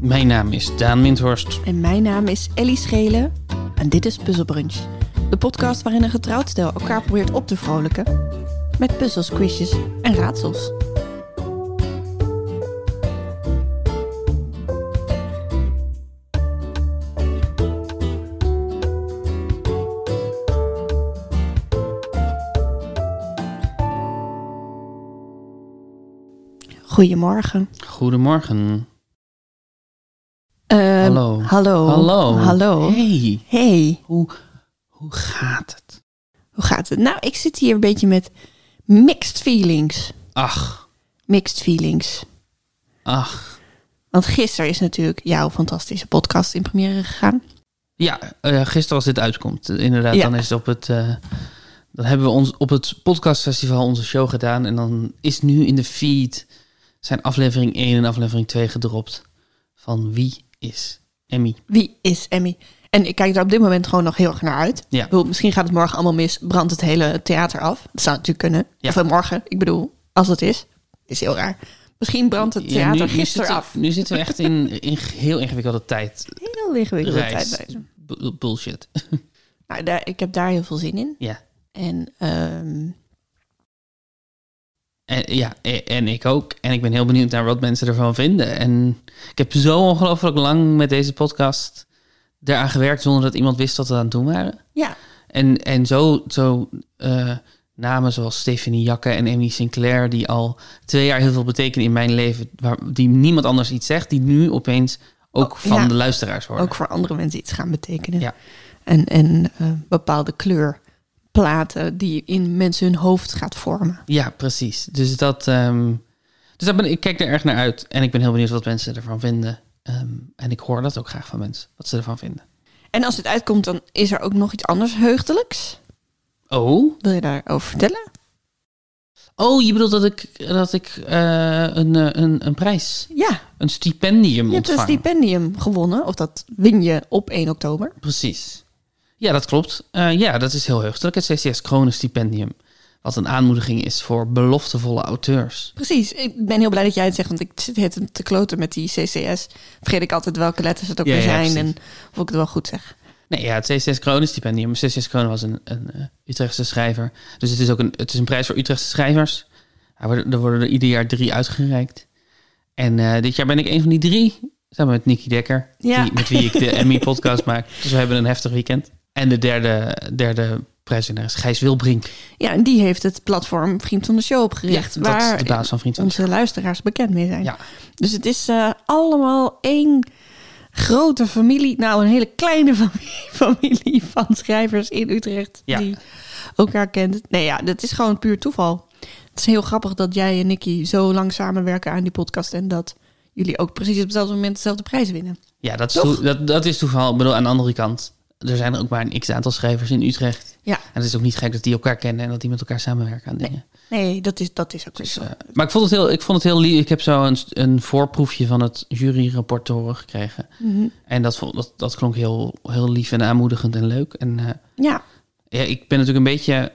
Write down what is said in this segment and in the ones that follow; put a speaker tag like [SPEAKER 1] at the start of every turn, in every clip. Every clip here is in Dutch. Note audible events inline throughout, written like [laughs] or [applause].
[SPEAKER 1] Mijn naam is Daan Windhorst.
[SPEAKER 2] En mijn naam is Ellie Schelen en dit is Puzzle Brunch. De podcast waarin een getrouwd stel elkaar probeert op te vrolijken met puzzels, quizjes en raadsels. Goedemorgen.
[SPEAKER 1] Goedemorgen.
[SPEAKER 2] Eh,
[SPEAKER 1] hallo.
[SPEAKER 2] Hallo.
[SPEAKER 1] Hallo.
[SPEAKER 2] Hallo.
[SPEAKER 1] Hey,
[SPEAKER 2] Hey,
[SPEAKER 1] hoe, hoe gaat het?
[SPEAKER 2] hoe gaat het? Nou, ik zit hier een beetje met mixed feelings.
[SPEAKER 1] Ach,
[SPEAKER 2] Mixed feelings.
[SPEAKER 1] ach.
[SPEAKER 2] Want gisteren is natuurlijk jouw fantastische podcast in première gegaan.
[SPEAKER 1] Ja, eh, gisteren als dit uitkomt. eh, Inderdaad,
[SPEAKER 2] Ja.
[SPEAKER 1] dan is het op het... eh, dan hebben we ons op het podcastfestival onze show gedaan. En dan is nu in de feed zijn aflevering 1 en aflevering 2 gedropt. Van wie is Emmy?
[SPEAKER 2] Wie is Emmy? En ik kijk daar op dit moment gewoon nog heel erg naar uit.
[SPEAKER 1] Ja.
[SPEAKER 2] Ik bedoel, misschien gaat het morgen allemaal mis, brandt het hele theater af. Dat zou natuurlijk kunnen.
[SPEAKER 1] Ja.
[SPEAKER 2] Of eh, morgen, ik bedoel, als het is. Is heel raar. Misschien brandt het
[SPEAKER 1] Ja, nu-
[SPEAKER 2] theater
[SPEAKER 1] nu
[SPEAKER 2] gisteren
[SPEAKER 1] zitten-
[SPEAKER 2] af.
[SPEAKER 1] Nu zitten we echt in, in heel ingewikkelde tijd.
[SPEAKER 2] Heel ingewikkelde
[SPEAKER 1] Reis.
[SPEAKER 2] tijd.
[SPEAKER 1] Bu- Bullshit.
[SPEAKER 2] Nou, daar, ik heb daar heel veel zin in.
[SPEAKER 1] Ja.
[SPEAKER 2] En ehm,
[SPEAKER 1] En, ja, e- en ik ook. En ik ben heel benieuwd naar wat mensen ervan vinden. En ik heb zo ongelooflijk lang met deze podcast daaraan gewerkt zonder dat iemand wist wat we aan het doen waren.
[SPEAKER 2] ja,
[SPEAKER 1] En, en zo, zo eh, namen zoals Stephanie Jakke en Emmy Sinclair, die al twee jaar heel veel betekenen in mijn leven, waar, die niemand anders iets zegt, die nu opeens ook
[SPEAKER 2] Oh,
[SPEAKER 1] van
[SPEAKER 2] ja.
[SPEAKER 1] de luisteraars worden.
[SPEAKER 2] ook voor andere mensen iets gaan betekenen.
[SPEAKER 1] Ja.
[SPEAKER 2] En, en eh, bepaalde kleurplaten die in mensen hun hoofd gaat vormen.
[SPEAKER 1] Ja, precies. Dus dat. ehm, dus dat ben, ik kijk er erg naar uit. En ik ben heel benieuwd wat mensen ervan vinden. Ehm, en ik hoor dat ook graag van mensen. Wat ze ervan vinden.
[SPEAKER 2] En als het uitkomt, dan is er ook nog iets anders heugdelijks.
[SPEAKER 1] Oh.
[SPEAKER 2] Wil je daarover vertellen?
[SPEAKER 1] Oh, je bedoelt dat ik, dat ik eh, een, eh, een, een prijs,
[SPEAKER 2] Ja,
[SPEAKER 1] een stipendium
[SPEAKER 2] je hebt
[SPEAKER 1] ontvang.
[SPEAKER 2] een stipendium gewonnen. Of dat win je op 1 oktober.
[SPEAKER 1] Precies. Ja, dat klopt. Eh, ja, dat is heel heugdelijk. Het CCS Kronen Stipendium. Wat een aanmoediging is voor beloftevolle auteurs.
[SPEAKER 2] Precies, ik ben heel blij dat jij het zegt, want ik zit het te kloten met die CCS. Vergeet ik altijd welke letters het ook
[SPEAKER 1] Ja,
[SPEAKER 2] weer
[SPEAKER 1] ja,
[SPEAKER 2] zijn en
[SPEAKER 1] precies.
[SPEAKER 2] of ik het wel goed zeg.
[SPEAKER 1] Nee, ja, het CCS Kronen Stipendium. CCS Kronen was een, een eh, Utrechtse schrijver. Dus het is ook een, het is een prijs voor Utrechtse schrijvers. Er worden, er worden er ieder jaar drie uitgereikt. En eh, dit jaar ben ik een van die drie. Samen met Nicky Dekker,
[SPEAKER 2] Ja.
[SPEAKER 1] die, met wie ik de
[SPEAKER 2] [laughs]
[SPEAKER 1] Emmy-podcast maak. Dus we hebben een heftig weekend. En de derde, derde prijswinnaar is Gijs Wilbrink.
[SPEAKER 2] Ja, en die heeft het platform Vriend van de Show opgericht.
[SPEAKER 1] Ja, dat
[SPEAKER 2] waar
[SPEAKER 1] is de baas van Vriend van de
[SPEAKER 2] onze luisteraars bekend mee zijn.
[SPEAKER 1] Ja.
[SPEAKER 2] Dus het is eh, allemaal één grote familie. Nou, een hele kleine [laughs] familie, familie van schrijvers in Utrecht
[SPEAKER 1] Ja.
[SPEAKER 2] die elkaar kent. Nee, ja, dat is gewoon puur toeval. Het is heel grappig dat jij en Nicky zo lang samenwerken aan die podcast en dat jullie ook precies op hetzelfde moment dezelfde prijs winnen.
[SPEAKER 1] Ja, dat is,
[SPEAKER 2] Toch?
[SPEAKER 1] toe- dat, dat is toeval. Ik bedoel, aan de andere kant, er zijn er ook maar een x-aantal schrijvers in Utrecht.
[SPEAKER 2] Ja.
[SPEAKER 1] En het is ook niet gek dat die elkaar kennen en dat die met elkaar samenwerken aan dingen.
[SPEAKER 2] Nee, dat is, dat is ook dus, zo.
[SPEAKER 1] Eh, maar ik vond het heel, ik vond het heel lief. Ik heb zo een, een voorproefje van het juryrapport te horen gekregen.
[SPEAKER 2] Mhm.
[SPEAKER 1] En dat, vond, dat, dat klonk heel, heel lief en aanmoedigend en leuk. En eh,
[SPEAKER 2] Ja,
[SPEAKER 1] ja, ik ben natuurlijk een beetje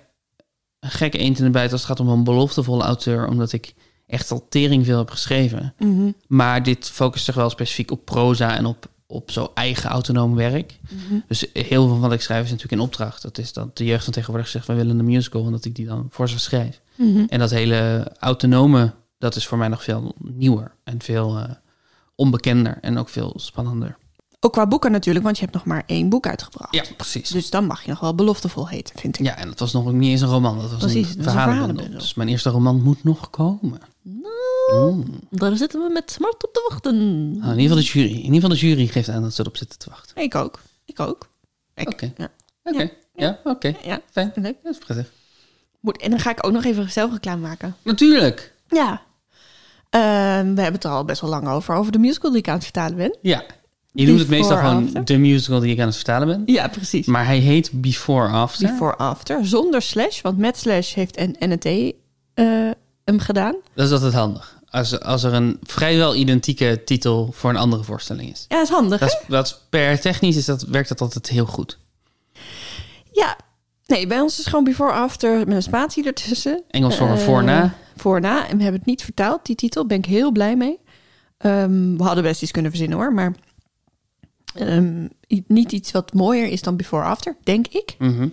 [SPEAKER 1] een gekke eend in de bijt als het gaat om een beloftevolle auteur. Omdat ik echt al tering veel heb geschreven.
[SPEAKER 2] mhm,
[SPEAKER 1] Maar dit focust zich wel specifiek op proza en op, op zo eigen autonoom werk.
[SPEAKER 2] mhm.
[SPEAKER 1] Dus heel veel wat ik schrijf is natuurlijk in opdracht. Dat is dat de jeugd van tegenwoordig zegt, we willen een musical... en dat ik die dan voor ze schrijf.
[SPEAKER 2] mhm.
[SPEAKER 1] En dat hele autonome, dat is voor mij nog veel nieuwer... en veel eh, onbekender en ook veel spannender.
[SPEAKER 2] Ook qua boeken natuurlijk, want je hebt nog maar één boek uitgebracht.
[SPEAKER 1] Ja, precies.
[SPEAKER 2] Dus dan mag je nog wel beloftevol heten, vind ik.
[SPEAKER 1] Ja, en dat was nog niet eens een roman. Dat was
[SPEAKER 2] Precies, dat
[SPEAKER 1] een
[SPEAKER 2] was een
[SPEAKER 1] verhalenbundel.
[SPEAKER 2] verhalenbundel.
[SPEAKER 1] Dus mijn eerste roman moet nog komen. Mm.
[SPEAKER 2] Nou, Daar zitten we met smart op te wachten.
[SPEAKER 1] Nou, in, ieder geval de jury, in ieder geval de jury geeft aan dat ze erop zitten te wachten.
[SPEAKER 2] Ah. Ik ook. Ik ook. Ik-
[SPEAKER 1] Oké,
[SPEAKER 2] Ja.
[SPEAKER 1] oké. Ja, oké.
[SPEAKER 2] Ja,
[SPEAKER 1] Fijn.
[SPEAKER 2] leuk.
[SPEAKER 1] Dat is prettig.
[SPEAKER 2] Moet, en dan ga ik ook nog even zelf reclame maken.
[SPEAKER 1] Natuurlijk.
[SPEAKER 2] Ja. Ehm, we hebben het er al best wel lang over, over de musical die ik aan het vertalen ben.
[SPEAKER 1] Ja. Je doet het
[SPEAKER 2] Before
[SPEAKER 1] meestal gewoon
[SPEAKER 2] After.
[SPEAKER 1] de musical die ik aan het vertalen ben.
[SPEAKER 2] Ja, precies.
[SPEAKER 1] Maar hij heet Before After.
[SPEAKER 2] Before After, zonder slash, want met slash heeft een NNT eh, hem gedaan.
[SPEAKER 1] Dat is altijd handig. Als, als er een vrijwel identieke titel voor een andere voorstelling is.
[SPEAKER 2] Ja, dat is handig.
[SPEAKER 1] Dat
[SPEAKER 2] hè?
[SPEAKER 1] is, dat is per technisch is dat, werkt dat altijd heel goed.
[SPEAKER 2] Ja. Nee, bij ons is het gewoon Before After met een spatie ertussen.
[SPEAKER 1] Engels voor een
[SPEAKER 2] Eh,
[SPEAKER 1] voorna.
[SPEAKER 2] Voorna. En we hebben het niet vertaald, die titel. Ben ik heel blij mee. Ehm, we hadden best iets kunnen verzinnen hoor, maar ehm, i- niet iets wat mooier is dan Before After, denk ik.
[SPEAKER 1] Mhm.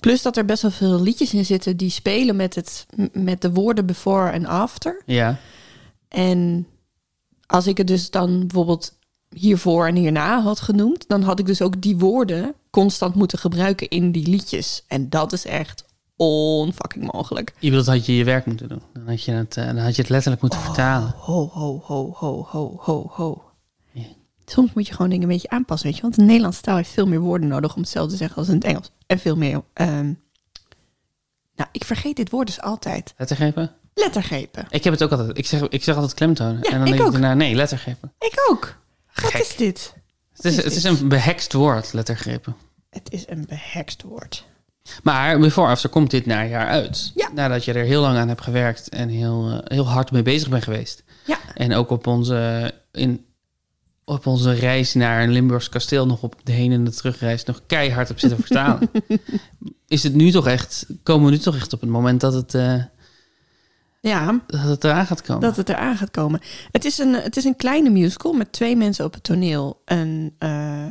[SPEAKER 2] Plus dat er best wel veel liedjes in zitten die spelen met, het, m- met de woorden before en after.
[SPEAKER 1] Ja.
[SPEAKER 2] En als ik het dus dan bijvoorbeeld hiervoor en hierna had genoemd, dan had ik dus ook die woorden constant moeten gebruiken in die liedjes. En dat is echt onfucking mogelijk.
[SPEAKER 1] Je bedoelt, had je je werk moeten doen. Dan had je het, eh, dan had je het letterlijk
[SPEAKER 2] Oh.
[SPEAKER 1] moeten vertalen.
[SPEAKER 2] Ho, ho, ho, ho, ho, ho, ho.
[SPEAKER 1] Ja.
[SPEAKER 2] Soms moet je gewoon dingen een beetje aanpassen, weet je. Want in Nederlands taal heeft veel meer woorden nodig om hetzelfde te zeggen als in het Engels. En veel meer... ehm, nou, ik vergeet dit woord dus altijd.
[SPEAKER 1] Lettergrepen?
[SPEAKER 2] Lettergrepen.
[SPEAKER 1] Ik heb het ook altijd. Ik zeg, ik zeg altijd klemtonen.
[SPEAKER 2] Ja,
[SPEAKER 1] en dan
[SPEAKER 2] ik
[SPEAKER 1] denk
[SPEAKER 2] ook.
[SPEAKER 1] ik daarna, nee, lettergrepen.
[SPEAKER 2] Ik ook. Wat
[SPEAKER 1] Gek.
[SPEAKER 2] is dit?
[SPEAKER 1] Het is,
[SPEAKER 2] Wat
[SPEAKER 1] het is
[SPEAKER 2] dit?
[SPEAKER 1] een behekst woord, lettergrepen.
[SPEAKER 2] Het is een behekst woord.
[SPEAKER 1] Maar Before After komt dit najaar uit.
[SPEAKER 2] Ja.
[SPEAKER 1] Nadat je er heel lang aan hebt gewerkt en heel, eh, heel hard mee bezig bent geweest.
[SPEAKER 2] Ja.
[SPEAKER 1] En ook op onze, in, op onze reis naar een Limburgs kasteel, nog op de heen en de terugreis, nog keihard heb zitten
[SPEAKER 2] [laughs]
[SPEAKER 1] vertalen. Is het nu toch echt, komen we nu toch echt op het moment dat het, eh,
[SPEAKER 2] Ja,
[SPEAKER 1] dat het eraan gaat komen?
[SPEAKER 2] dat het eraan gaat komen. Het is, een, het is een kleine musical met twee mensen op het toneel. Een eh,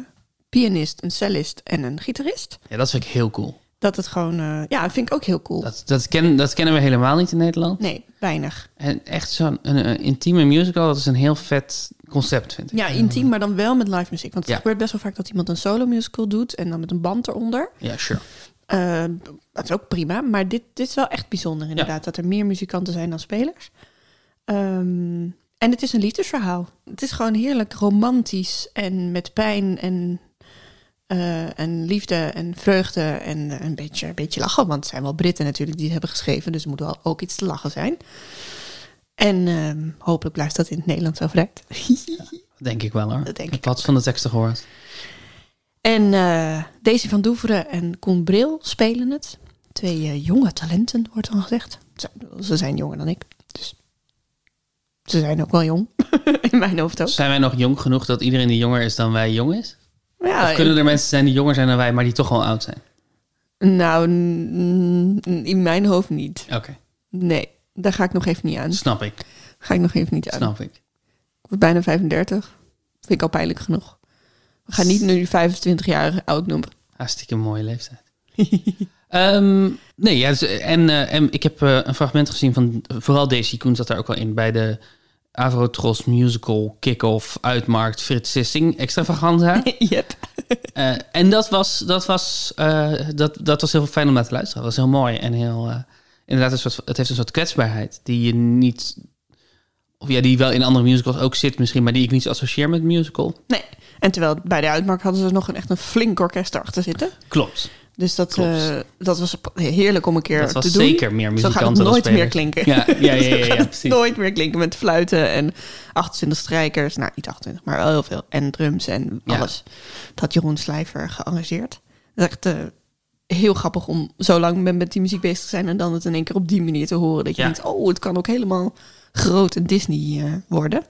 [SPEAKER 2] pianist, een cellist en een gitarist.
[SPEAKER 1] Ja, dat vind ik heel cool.
[SPEAKER 2] Dat het gewoon... eh, ja, dat vind ik ook heel cool.
[SPEAKER 1] Dat, dat, ken, dat kennen we helemaal niet in Nederland.
[SPEAKER 2] Nee, weinig.
[SPEAKER 1] En echt zo'n een, een intieme musical, dat is een heel vet concept, vind ik.
[SPEAKER 2] Ja, intiem, maar dan wel met live muziek. Want het
[SPEAKER 1] Ja.
[SPEAKER 2] gebeurt best wel vaak dat iemand een solo musical doet en dan met een band eronder.
[SPEAKER 1] Ja, sure.
[SPEAKER 2] Eh, dat is ook prima, maar dit, dit is wel echt bijzonder inderdaad. Dat er meer muzikanten zijn dan spelers. Ehm, en het is een liefdesverhaal. Het is gewoon heerlijk romantisch en met pijn en, eh, en liefde en vreugde en eh, een beetje, een beetje lachen. Want het zijn wel Britten natuurlijk die het hebben geschreven, dus er moet wel ook iets te lachen zijn. En ehm, hopelijk blijft dat in het Nederlands overeind. [laughs]
[SPEAKER 1] Denk ik wel hoor.
[SPEAKER 2] Dat denk
[SPEAKER 1] ik
[SPEAKER 2] ik
[SPEAKER 1] had van de teksten gehoord.
[SPEAKER 2] En eh, Daisy van Doeveren en Koen Bril spelen het. Twee eh, jonge talenten, wordt dan gezegd. Ze, ze zijn jonger dan ik, dus ze zijn ook wel jong. [laughs] In mijn hoofd ook.
[SPEAKER 1] Zijn wij nog jong genoeg dat iedereen die jonger is dan wij jong is?
[SPEAKER 2] Maar Ah, ja,
[SPEAKER 1] of kunnen er mensen zijn die jonger zijn dan wij, maar die toch al oud zijn?
[SPEAKER 2] Nou, n- n- in mijn hoofd niet.
[SPEAKER 1] Oké,
[SPEAKER 2] Nee, daar ga ik nog even niet aan.
[SPEAKER 1] snap ik.
[SPEAKER 2] Ga ik nog even niet aan.
[SPEAKER 1] Snap ik.
[SPEAKER 2] Ik word bijna 35. Vind ik al pijnlijk genoeg. We gaan niet nu 25-jarige oud noemen. [laughs]
[SPEAKER 1] Hartstikke mooie leeftijd. [laughs] Ehm, nee, ja, dus, eh, en, eh, en ik heb eh, een fragment gezien van eh, vooral Daisy Koen zat daar ook al in bij de Avrotros Musical Kick-Off Uitmarkt Frits Sissing Extravaganza.
[SPEAKER 2] yep.
[SPEAKER 1] Eh, en dat was, dat, was, eh, dat, dat was heel fijn om naar te luisteren. Dat was heel mooi en heel. eh, inderdaad, een soort, het heeft een soort kwetsbaarheid die je niet. Of ja, die wel in andere musicals ook zit misschien, maar die ik niet zo associeer met musical.
[SPEAKER 2] Nee. En terwijl bij de uitmarkt hadden ze nog een, echt een flink orkest erachter zitten.
[SPEAKER 1] Klopt.
[SPEAKER 2] Dus dat,
[SPEAKER 1] Klopt.
[SPEAKER 2] eh, dat was heerlijk om een keer
[SPEAKER 1] dat was
[SPEAKER 2] te doen.
[SPEAKER 1] zeker meer
[SPEAKER 2] Zo
[SPEAKER 1] muzikanten
[SPEAKER 2] gaat het
[SPEAKER 1] dan
[SPEAKER 2] nooit meer
[SPEAKER 1] spelers.
[SPEAKER 2] klinken.
[SPEAKER 1] Ja, ja, ja, ja, ja,
[SPEAKER 2] [laughs] Zo gaat
[SPEAKER 1] ja,
[SPEAKER 2] het
[SPEAKER 1] precies.
[SPEAKER 2] nooit meer klinken met fluiten en 28 strijkers. Nou, niet 28, maar wel heel veel. En drums en
[SPEAKER 1] Ja.
[SPEAKER 2] alles. Dat had Jeroen Slijver gearrangeerd. Dat is echt eh, heel grappig om zo lang met, met die muziek bezig te zijn... en dan het in één keer op die manier te horen. Dat je
[SPEAKER 1] Ja.
[SPEAKER 2] denkt, oh, het kan ook helemaal groot en Disney eh, worden.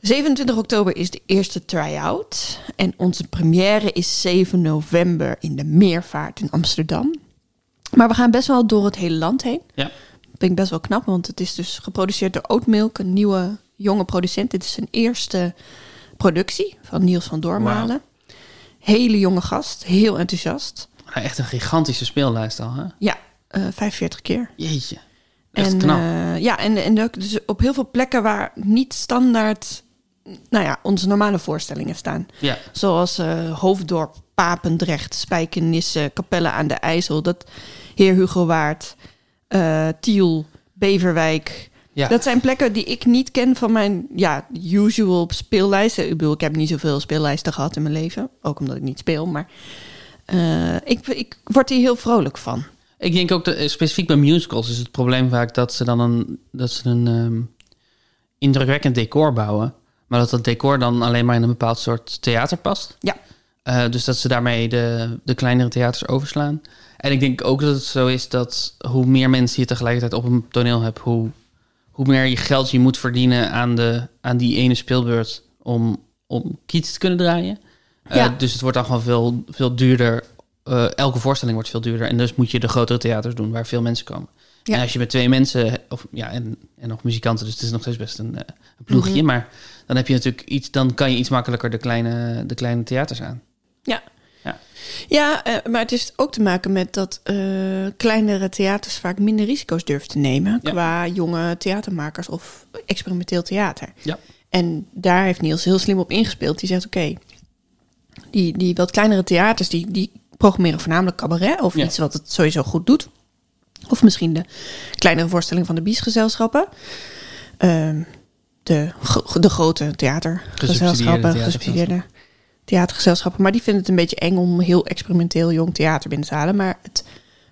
[SPEAKER 2] 27 oktober is de eerste try-out. En onze première is 7 november in de Meervaart in Amsterdam. Maar we gaan best wel door het hele land heen.
[SPEAKER 1] Ja.
[SPEAKER 2] Dat vind ik best wel knap, want het is dus geproduceerd door Oatmilk, een nieuwe jonge producent. Dit is zijn eerste productie van Niels van Doormalen. Hele jonge gast, heel enthousiast.
[SPEAKER 1] Nou, echt een gigantische speellijst al, hè?
[SPEAKER 2] Ja, eh 45 keer.
[SPEAKER 1] Jeetje. Echt
[SPEAKER 2] en,
[SPEAKER 1] knap.
[SPEAKER 2] eh, ja, en, en ook dus op heel veel plekken waar niet standaard nou ja, onze normale voorstellingen staan.
[SPEAKER 1] ja.
[SPEAKER 2] Zoals eh, Hoofddorp, Papendrecht, Spijkenisse, Capelle aan de IJssel, dat Heer Hugo Waard, eh, Tiel, Beverwijk.
[SPEAKER 1] Ja.
[SPEAKER 2] [laughs] Dat zijn plekken die ik niet ken van mijn ja, usual speellijsten. Ik bedoel, ik heb niet zoveel speellijsten gehad in mijn leven. Ook omdat ik niet speel, maar eh, ik, ik word hier heel vrolijk van.
[SPEAKER 1] Ik denk ook, dat, eh, specifiek bij musicals is het probleem vaak dat ze dan een, dat ze een ehm, indrukwekkend decor bouwen. Maar dat dat decor dan alleen maar in een bepaald soort theater past.
[SPEAKER 2] Ja.
[SPEAKER 1] Eh, dus dat ze daarmee de, de kleinere theaters overslaan. En ik denk ook dat het zo is dat hoe meer mensen je tegelijkertijd op een toneel hebt, hoe, hoe meer je geld je moet verdienen aan, de, aan die ene speelbeurt om, om kiets te kunnen draaien. Eh,
[SPEAKER 2] Ja.
[SPEAKER 1] Dus het wordt dan gewoon veel, veel duurder. Eh, elke voorstelling wordt veel duurder. En dus moet je de grotere theaters doen waar veel mensen komen.
[SPEAKER 2] Ja.
[SPEAKER 1] En als je met twee mensen, of, ja, en, en nog muzikanten, dus het is nog steeds best een, eh, een ploegje.
[SPEAKER 2] Mhm.
[SPEAKER 1] Maar dan heb je natuurlijk iets, dan kan je iets makkelijker de kleine, de kleine theaters aan.
[SPEAKER 2] Ja, eh, maar het heeft ook te maken met dat eh, kleinere theaters vaak minder risico's durven te nemen
[SPEAKER 1] Ja.
[SPEAKER 2] qua jonge theatermakers of experimenteel theater.
[SPEAKER 1] Ja.
[SPEAKER 2] En daar heeft Niels heel slim op ingespeeld. Die zegt: oké, die, die wat kleinere theaters die, die programmeren voornamelijk cabaret of
[SPEAKER 1] Ja.
[SPEAKER 2] iets wat het sowieso goed doet. Of misschien de kleinere voorstelling van de biesgezelschappen. Ehm, de, gro- de grote theatergezelschappen,
[SPEAKER 1] Gesubsidieerde
[SPEAKER 2] gesubsidieerde theatergezelschappen. Maar die vinden het een beetje eng om heel experimenteel jong theater binnen te halen. Maar het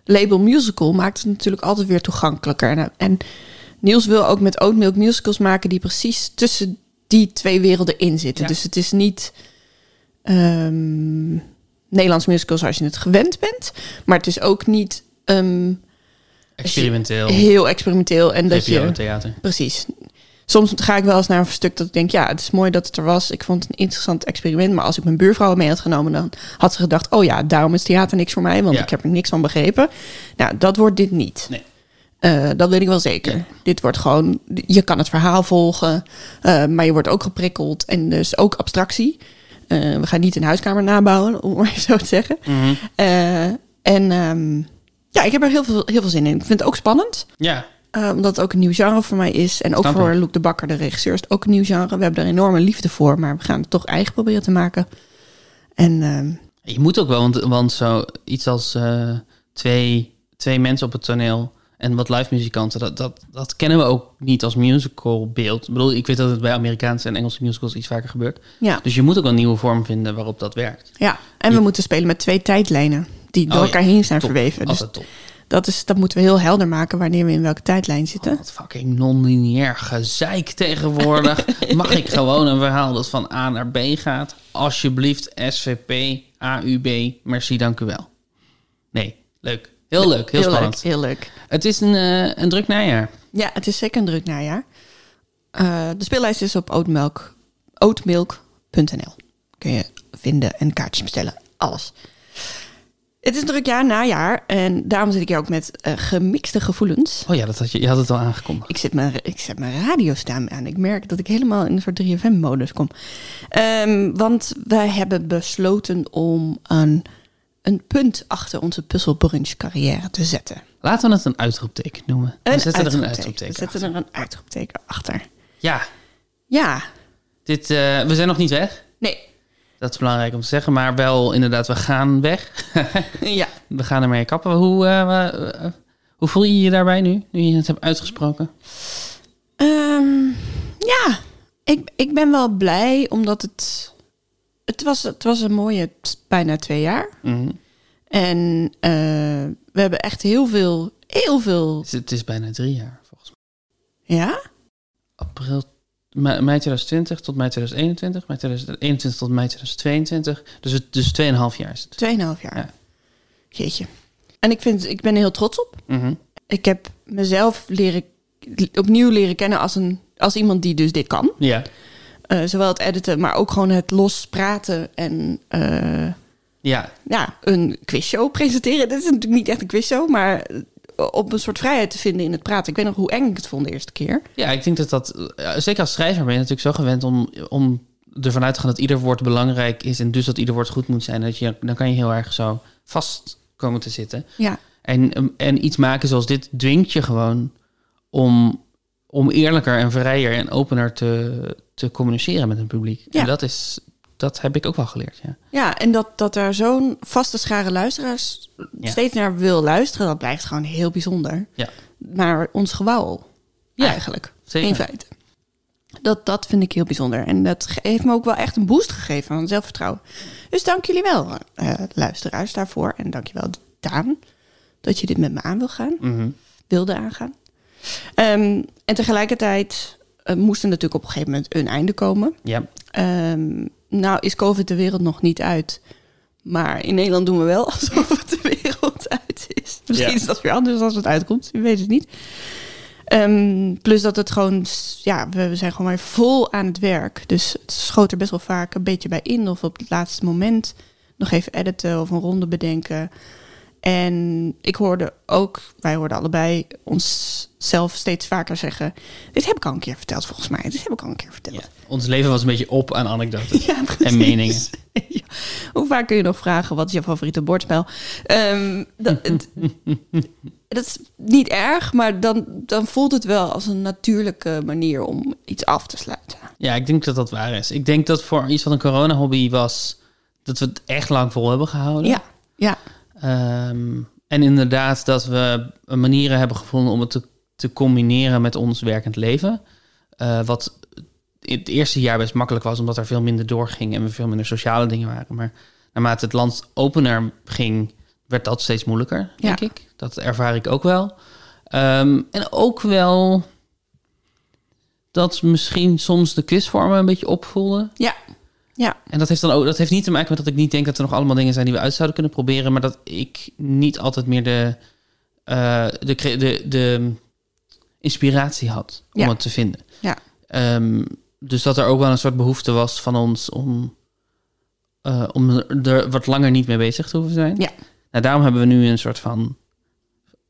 [SPEAKER 2] label musical maakt het natuurlijk altijd weer toegankelijker. En, en Niels wil ook met Oatmilk musicals maken die precies tussen die twee werelden in zitten.
[SPEAKER 1] Ja.
[SPEAKER 2] Dus het is niet ehm, Nederlands musical zoals je het gewend bent. Maar het is ook niet ehm,
[SPEAKER 1] Experimenteel,
[SPEAKER 2] heel experimenteel. En dat je,
[SPEAKER 1] theater.
[SPEAKER 2] Precies. Soms ga ik wel eens naar een stuk dat ik denk, ja, het is mooi dat het er was. Ik vond het een interessant experiment. Maar als ik mijn buurvrouw mee had genomen, dan had ze gedacht, oh ja, daarom is theater niks voor mij, want
[SPEAKER 1] Ja.
[SPEAKER 2] ik heb er niks van begrepen. Nou, dat wordt dit niet.
[SPEAKER 1] Nee.
[SPEAKER 2] Eh, dat weet ik wel zeker.
[SPEAKER 1] Ja.
[SPEAKER 2] Dit wordt gewoon, je kan het verhaal volgen, eh, maar je wordt ook geprikkeld en dus ook abstractie. Eh, we gaan niet een huiskamer nabouwen, om maar [laughs] even zo te zeggen.
[SPEAKER 1] Mhm.
[SPEAKER 2] Eh, en ehm, ja, ik heb er heel veel, heel veel zin in. Ik vind het ook spannend.
[SPEAKER 1] Ja,
[SPEAKER 2] Eh, omdat het ook een nieuw genre voor mij is. En ook
[SPEAKER 1] Snap ik.
[SPEAKER 2] voor Luc de Bakker, de regisseur, is het ook een nieuw genre. We hebben er enorme liefde voor, maar we gaan het toch eigen proberen te maken. En ehm,
[SPEAKER 1] je moet ook wel, want, want zo iets als eh, twee, twee mensen op het toneel en wat live muzikanten, dat, dat, dat kennen we ook niet als musical beeld. Ik bedoel, ik weet dat het bij Amerikaanse en Engelse musicals iets vaker gebeurt.
[SPEAKER 2] ja,
[SPEAKER 1] Dus je moet ook wel een nieuwe vorm vinden waarop dat werkt.
[SPEAKER 2] ja. en we moeten spelen met twee tijdlijnen die door
[SPEAKER 1] Oh ja,
[SPEAKER 2] elkaar heen zijn
[SPEAKER 1] top.
[SPEAKER 2] verweven. Dus
[SPEAKER 1] Altijd top.
[SPEAKER 2] dat, is, dat moeten we heel helder maken wanneer we in welke tijdlijn zitten.
[SPEAKER 1] Wat fucking non-lineair gezeik [laughs] tegenwoordig. Mag ik gewoon een verhaal dat van A naar B gaat? Alsjeblieft, SVP, AUB, merci, dank u wel. Nee, leuk. Heel leuk, heel, spannend.
[SPEAKER 2] leuk, heel leuk.
[SPEAKER 1] Het is een, eh, een druk najaar.
[SPEAKER 2] Ja, het is zeker een druk najaar. Eh, de speellijst is op oatmilk- oatmilk.nl. Kun je vinden en kaartjes bestellen. Alles. Het is een druk jaar najaar en daarom zit ik hier ook met eh, gemixte gevoelens.
[SPEAKER 1] Oh ja, dat had je, je had het al aangekondigd.
[SPEAKER 2] Ik zet, mijn, ik zet mijn radio staan aan. Ik merk dat ik helemaal in een soort 3FM-modus kom. Ehm, want wij hebben besloten om een, een punt achter onze puzzelbrunch-carrière te zetten.
[SPEAKER 1] Laten we het een uitroepteken noemen. we zetten er een
[SPEAKER 2] We
[SPEAKER 1] uitroepteken
[SPEAKER 2] zetten er een uitroepteken achter.
[SPEAKER 1] achter. Ja,
[SPEAKER 2] Ja,
[SPEAKER 1] dit, eh, we zijn nog niet weg.
[SPEAKER 2] nee. [laughs]
[SPEAKER 1] Dat is belangrijk om te zeggen. Maar wel inderdaad, we gaan weg. [laughs]
[SPEAKER 2] Ja.
[SPEAKER 1] we gaan ermee kappen. Hoe, eh, eh, eh, hoe voel je je daarbij nu? Nu je het hebt uitgesproken?
[SPEAKER 2] Ehm, ja, ik, ik ben wel blij omdat het. Het was, het was een mooie t- bijna twee jaar.
[SPEAKER 1] Mhm.
[SPEAKER 2] En eh, we hebben echt heel veel. Heel veel.
[SPEAKER 1] Dus Het is- Het is bijna drie jaar volgens mij.
[SPEAKER 2] Ja?
[SPEAKER 1] April, me- mei 2020 tot mei 2021, mei 2021 tot mei 2022. Dus, het, dus 2,5 jaar is het.
[SPEAKER 2] Tweeënhalf jaar.
[SPEAKER 1] Ja.
[SPEAKER 2] Jeetje. En ik, vind, ik ben er heel trots op.
[SPEAKER 1] Mhm.
[SPEAKER 2] Ik heb mezelf leren, opnieuw leren kennen als, een, als iemand die dus dit kan.
[SPEAKER 1] Ja.
[SPEAKER 2] Eh, zowel het editen, maar ook gewoon het lospraten en. eh,
[SPEAKER 1] Ja,
[SPEAKER 2] ja, een quizshow presenteren. Dit is natuurlijk niet echt een quizshow, maar eh, op een soort vrijheid te vinden in het praten. Ik weet nog hoe eng ik het vond de eerste keer.
[SPEAKER 1] Ja, ik denk dat dat... eh, Zeker als schrijver ben je natuurlijk zo gewend om, om ervan uit te gaan dat ieder woord belangrijk is... en dus dat ieder woord goed moet zijn. Dat je, dan kan je heel erg zo vast komen te zitten.
[SPEAKER 2] Ja,
[SPEAKER 1] En, um, en iets maken zoals dit dwingt je gewoon om, om eerlijker en vrijer en opener te, te communiceren met een publiek.
[SPEAKER 2] Ja.
[SPEAKER 1] En dat, is, dat heb ik ook wel geleerd, ja.
[SPEAKER 2] ja en dat, dat er zo'n vaste schare luisteraars
[SPEAKER 1] Ja.
[SPEAKER 2] steeds naar wil luisteren, dat blijft gewoon heel bijzonder.
[SPEAKER 1] Ja.
[SPEAKER 2] Maar ons gewauwel,
[SPEAKER 1] Ja,
[SPEAKER 2] eigenlijk,
[SPEAKER 1] zeker.
[SPEAKER 2] in feite. Dat, dat vind ik heel bijzonder. En dat ge- heeft me ook wel echt een boost gegeven aan zelfvertrouwen. Dus dank jullie wel, eh, luisteraars, daarvoor. En dank je wel, Daan, dat je dit met me aan wil gaan.
[SPEAKER 1] Mhm.
[SPEAKER 2] wilde aangaan. Ehm, en tegelijkertijd eh, moest er natuurlijk op een gegeven moment een einde komen.
[SPEAKER 1] Ja,
[SPEAKER 2] Ehm, nou is COVID de wereld nog niet uit. Maar in Nederland doen we wel [laughs] alsof het de wereld uit is. Misschien
[SPEAKER 1] Ja.
[SPEAKER 2] is dat weer anders als het uitkomt. Je weet het niet. Ehm, plus dat het gewoon... s- Ja, we, we zijn gewoon weer vol aan het werk. Dus het schoot er best wel vaak een beetje bij in. Of op het laatste moment nog even editen of een ronde bedenken. En ik hoorde ook, wij hoorden allebei onszelf steeds vaker zeggen: Dit heb ik al een keer verteld, volgens mij. Dit heb ik al een keer verteld.
[SPEAKER 1] Ja. Ons leven was een beetje op aan anekdotes
[SPEAKER 2] [laughs] Ja, precies.
[SPEAKER 1] en meningen.
[SPEAKER 2] [laughs] Ja. Hoe vaak kun je nog vragen wat is je favoriete bordspel? Ehm, dat, [laughs] het- dat is niet erg, maar dan, dan voelt het wel als een natuurlijke manier om iets af te sluiten.
[SPEAKER 1] [laughs] Ja, ik denk dat dat waar is. Ik denk dat voor iets wat een corona-hobby was, dat we het echt lang vol hebben gehouden.
[SPEAKER 2] Ja, ja,
[SPEAKER 1] Ehm, en inderdaad dat we manieren hebben gevonden om het te, te combineren met ons werkend leven. Eh, wat in het eerste jaar best makkelijk was, omdat er veel minder doorging en we veel minder sociale dingen waren. Maar naarmate het land opener ging, werd dat steeds moeilijker, denk
[SPEAKER 2] Ja.
[SPEAKER 1] ik. Dat ervaar ik ook wel. Ehm, en ook wel dat misschien soms de quizvormen een beetje opvoelden.
[SPEAKER 2] ja, ja,
[SPEAKER 1] En dat heeft dan ook, dat heeft niet te maken met dat ik niet denk dat er nog allemaal dingen zijn die we uit zouden kunnen proberen, maar dat ik niet altijd meer de, eh, de, cre- de, de inspiratie had om
[SPEAKER 2] Ja.
[SPEAKER 1] het te vinden.
[SPEAKER 2] Ja.
[SPEAKER 1] Ehm, dus dat er ook wel een soort behoefte was van ons om, eh, om er- er wat langer niet mee bezig te hoeven zijn.
[SPEAKER 2] Ja.
[SPEAKER 1] Nou, daarom hebben we nu een soort van,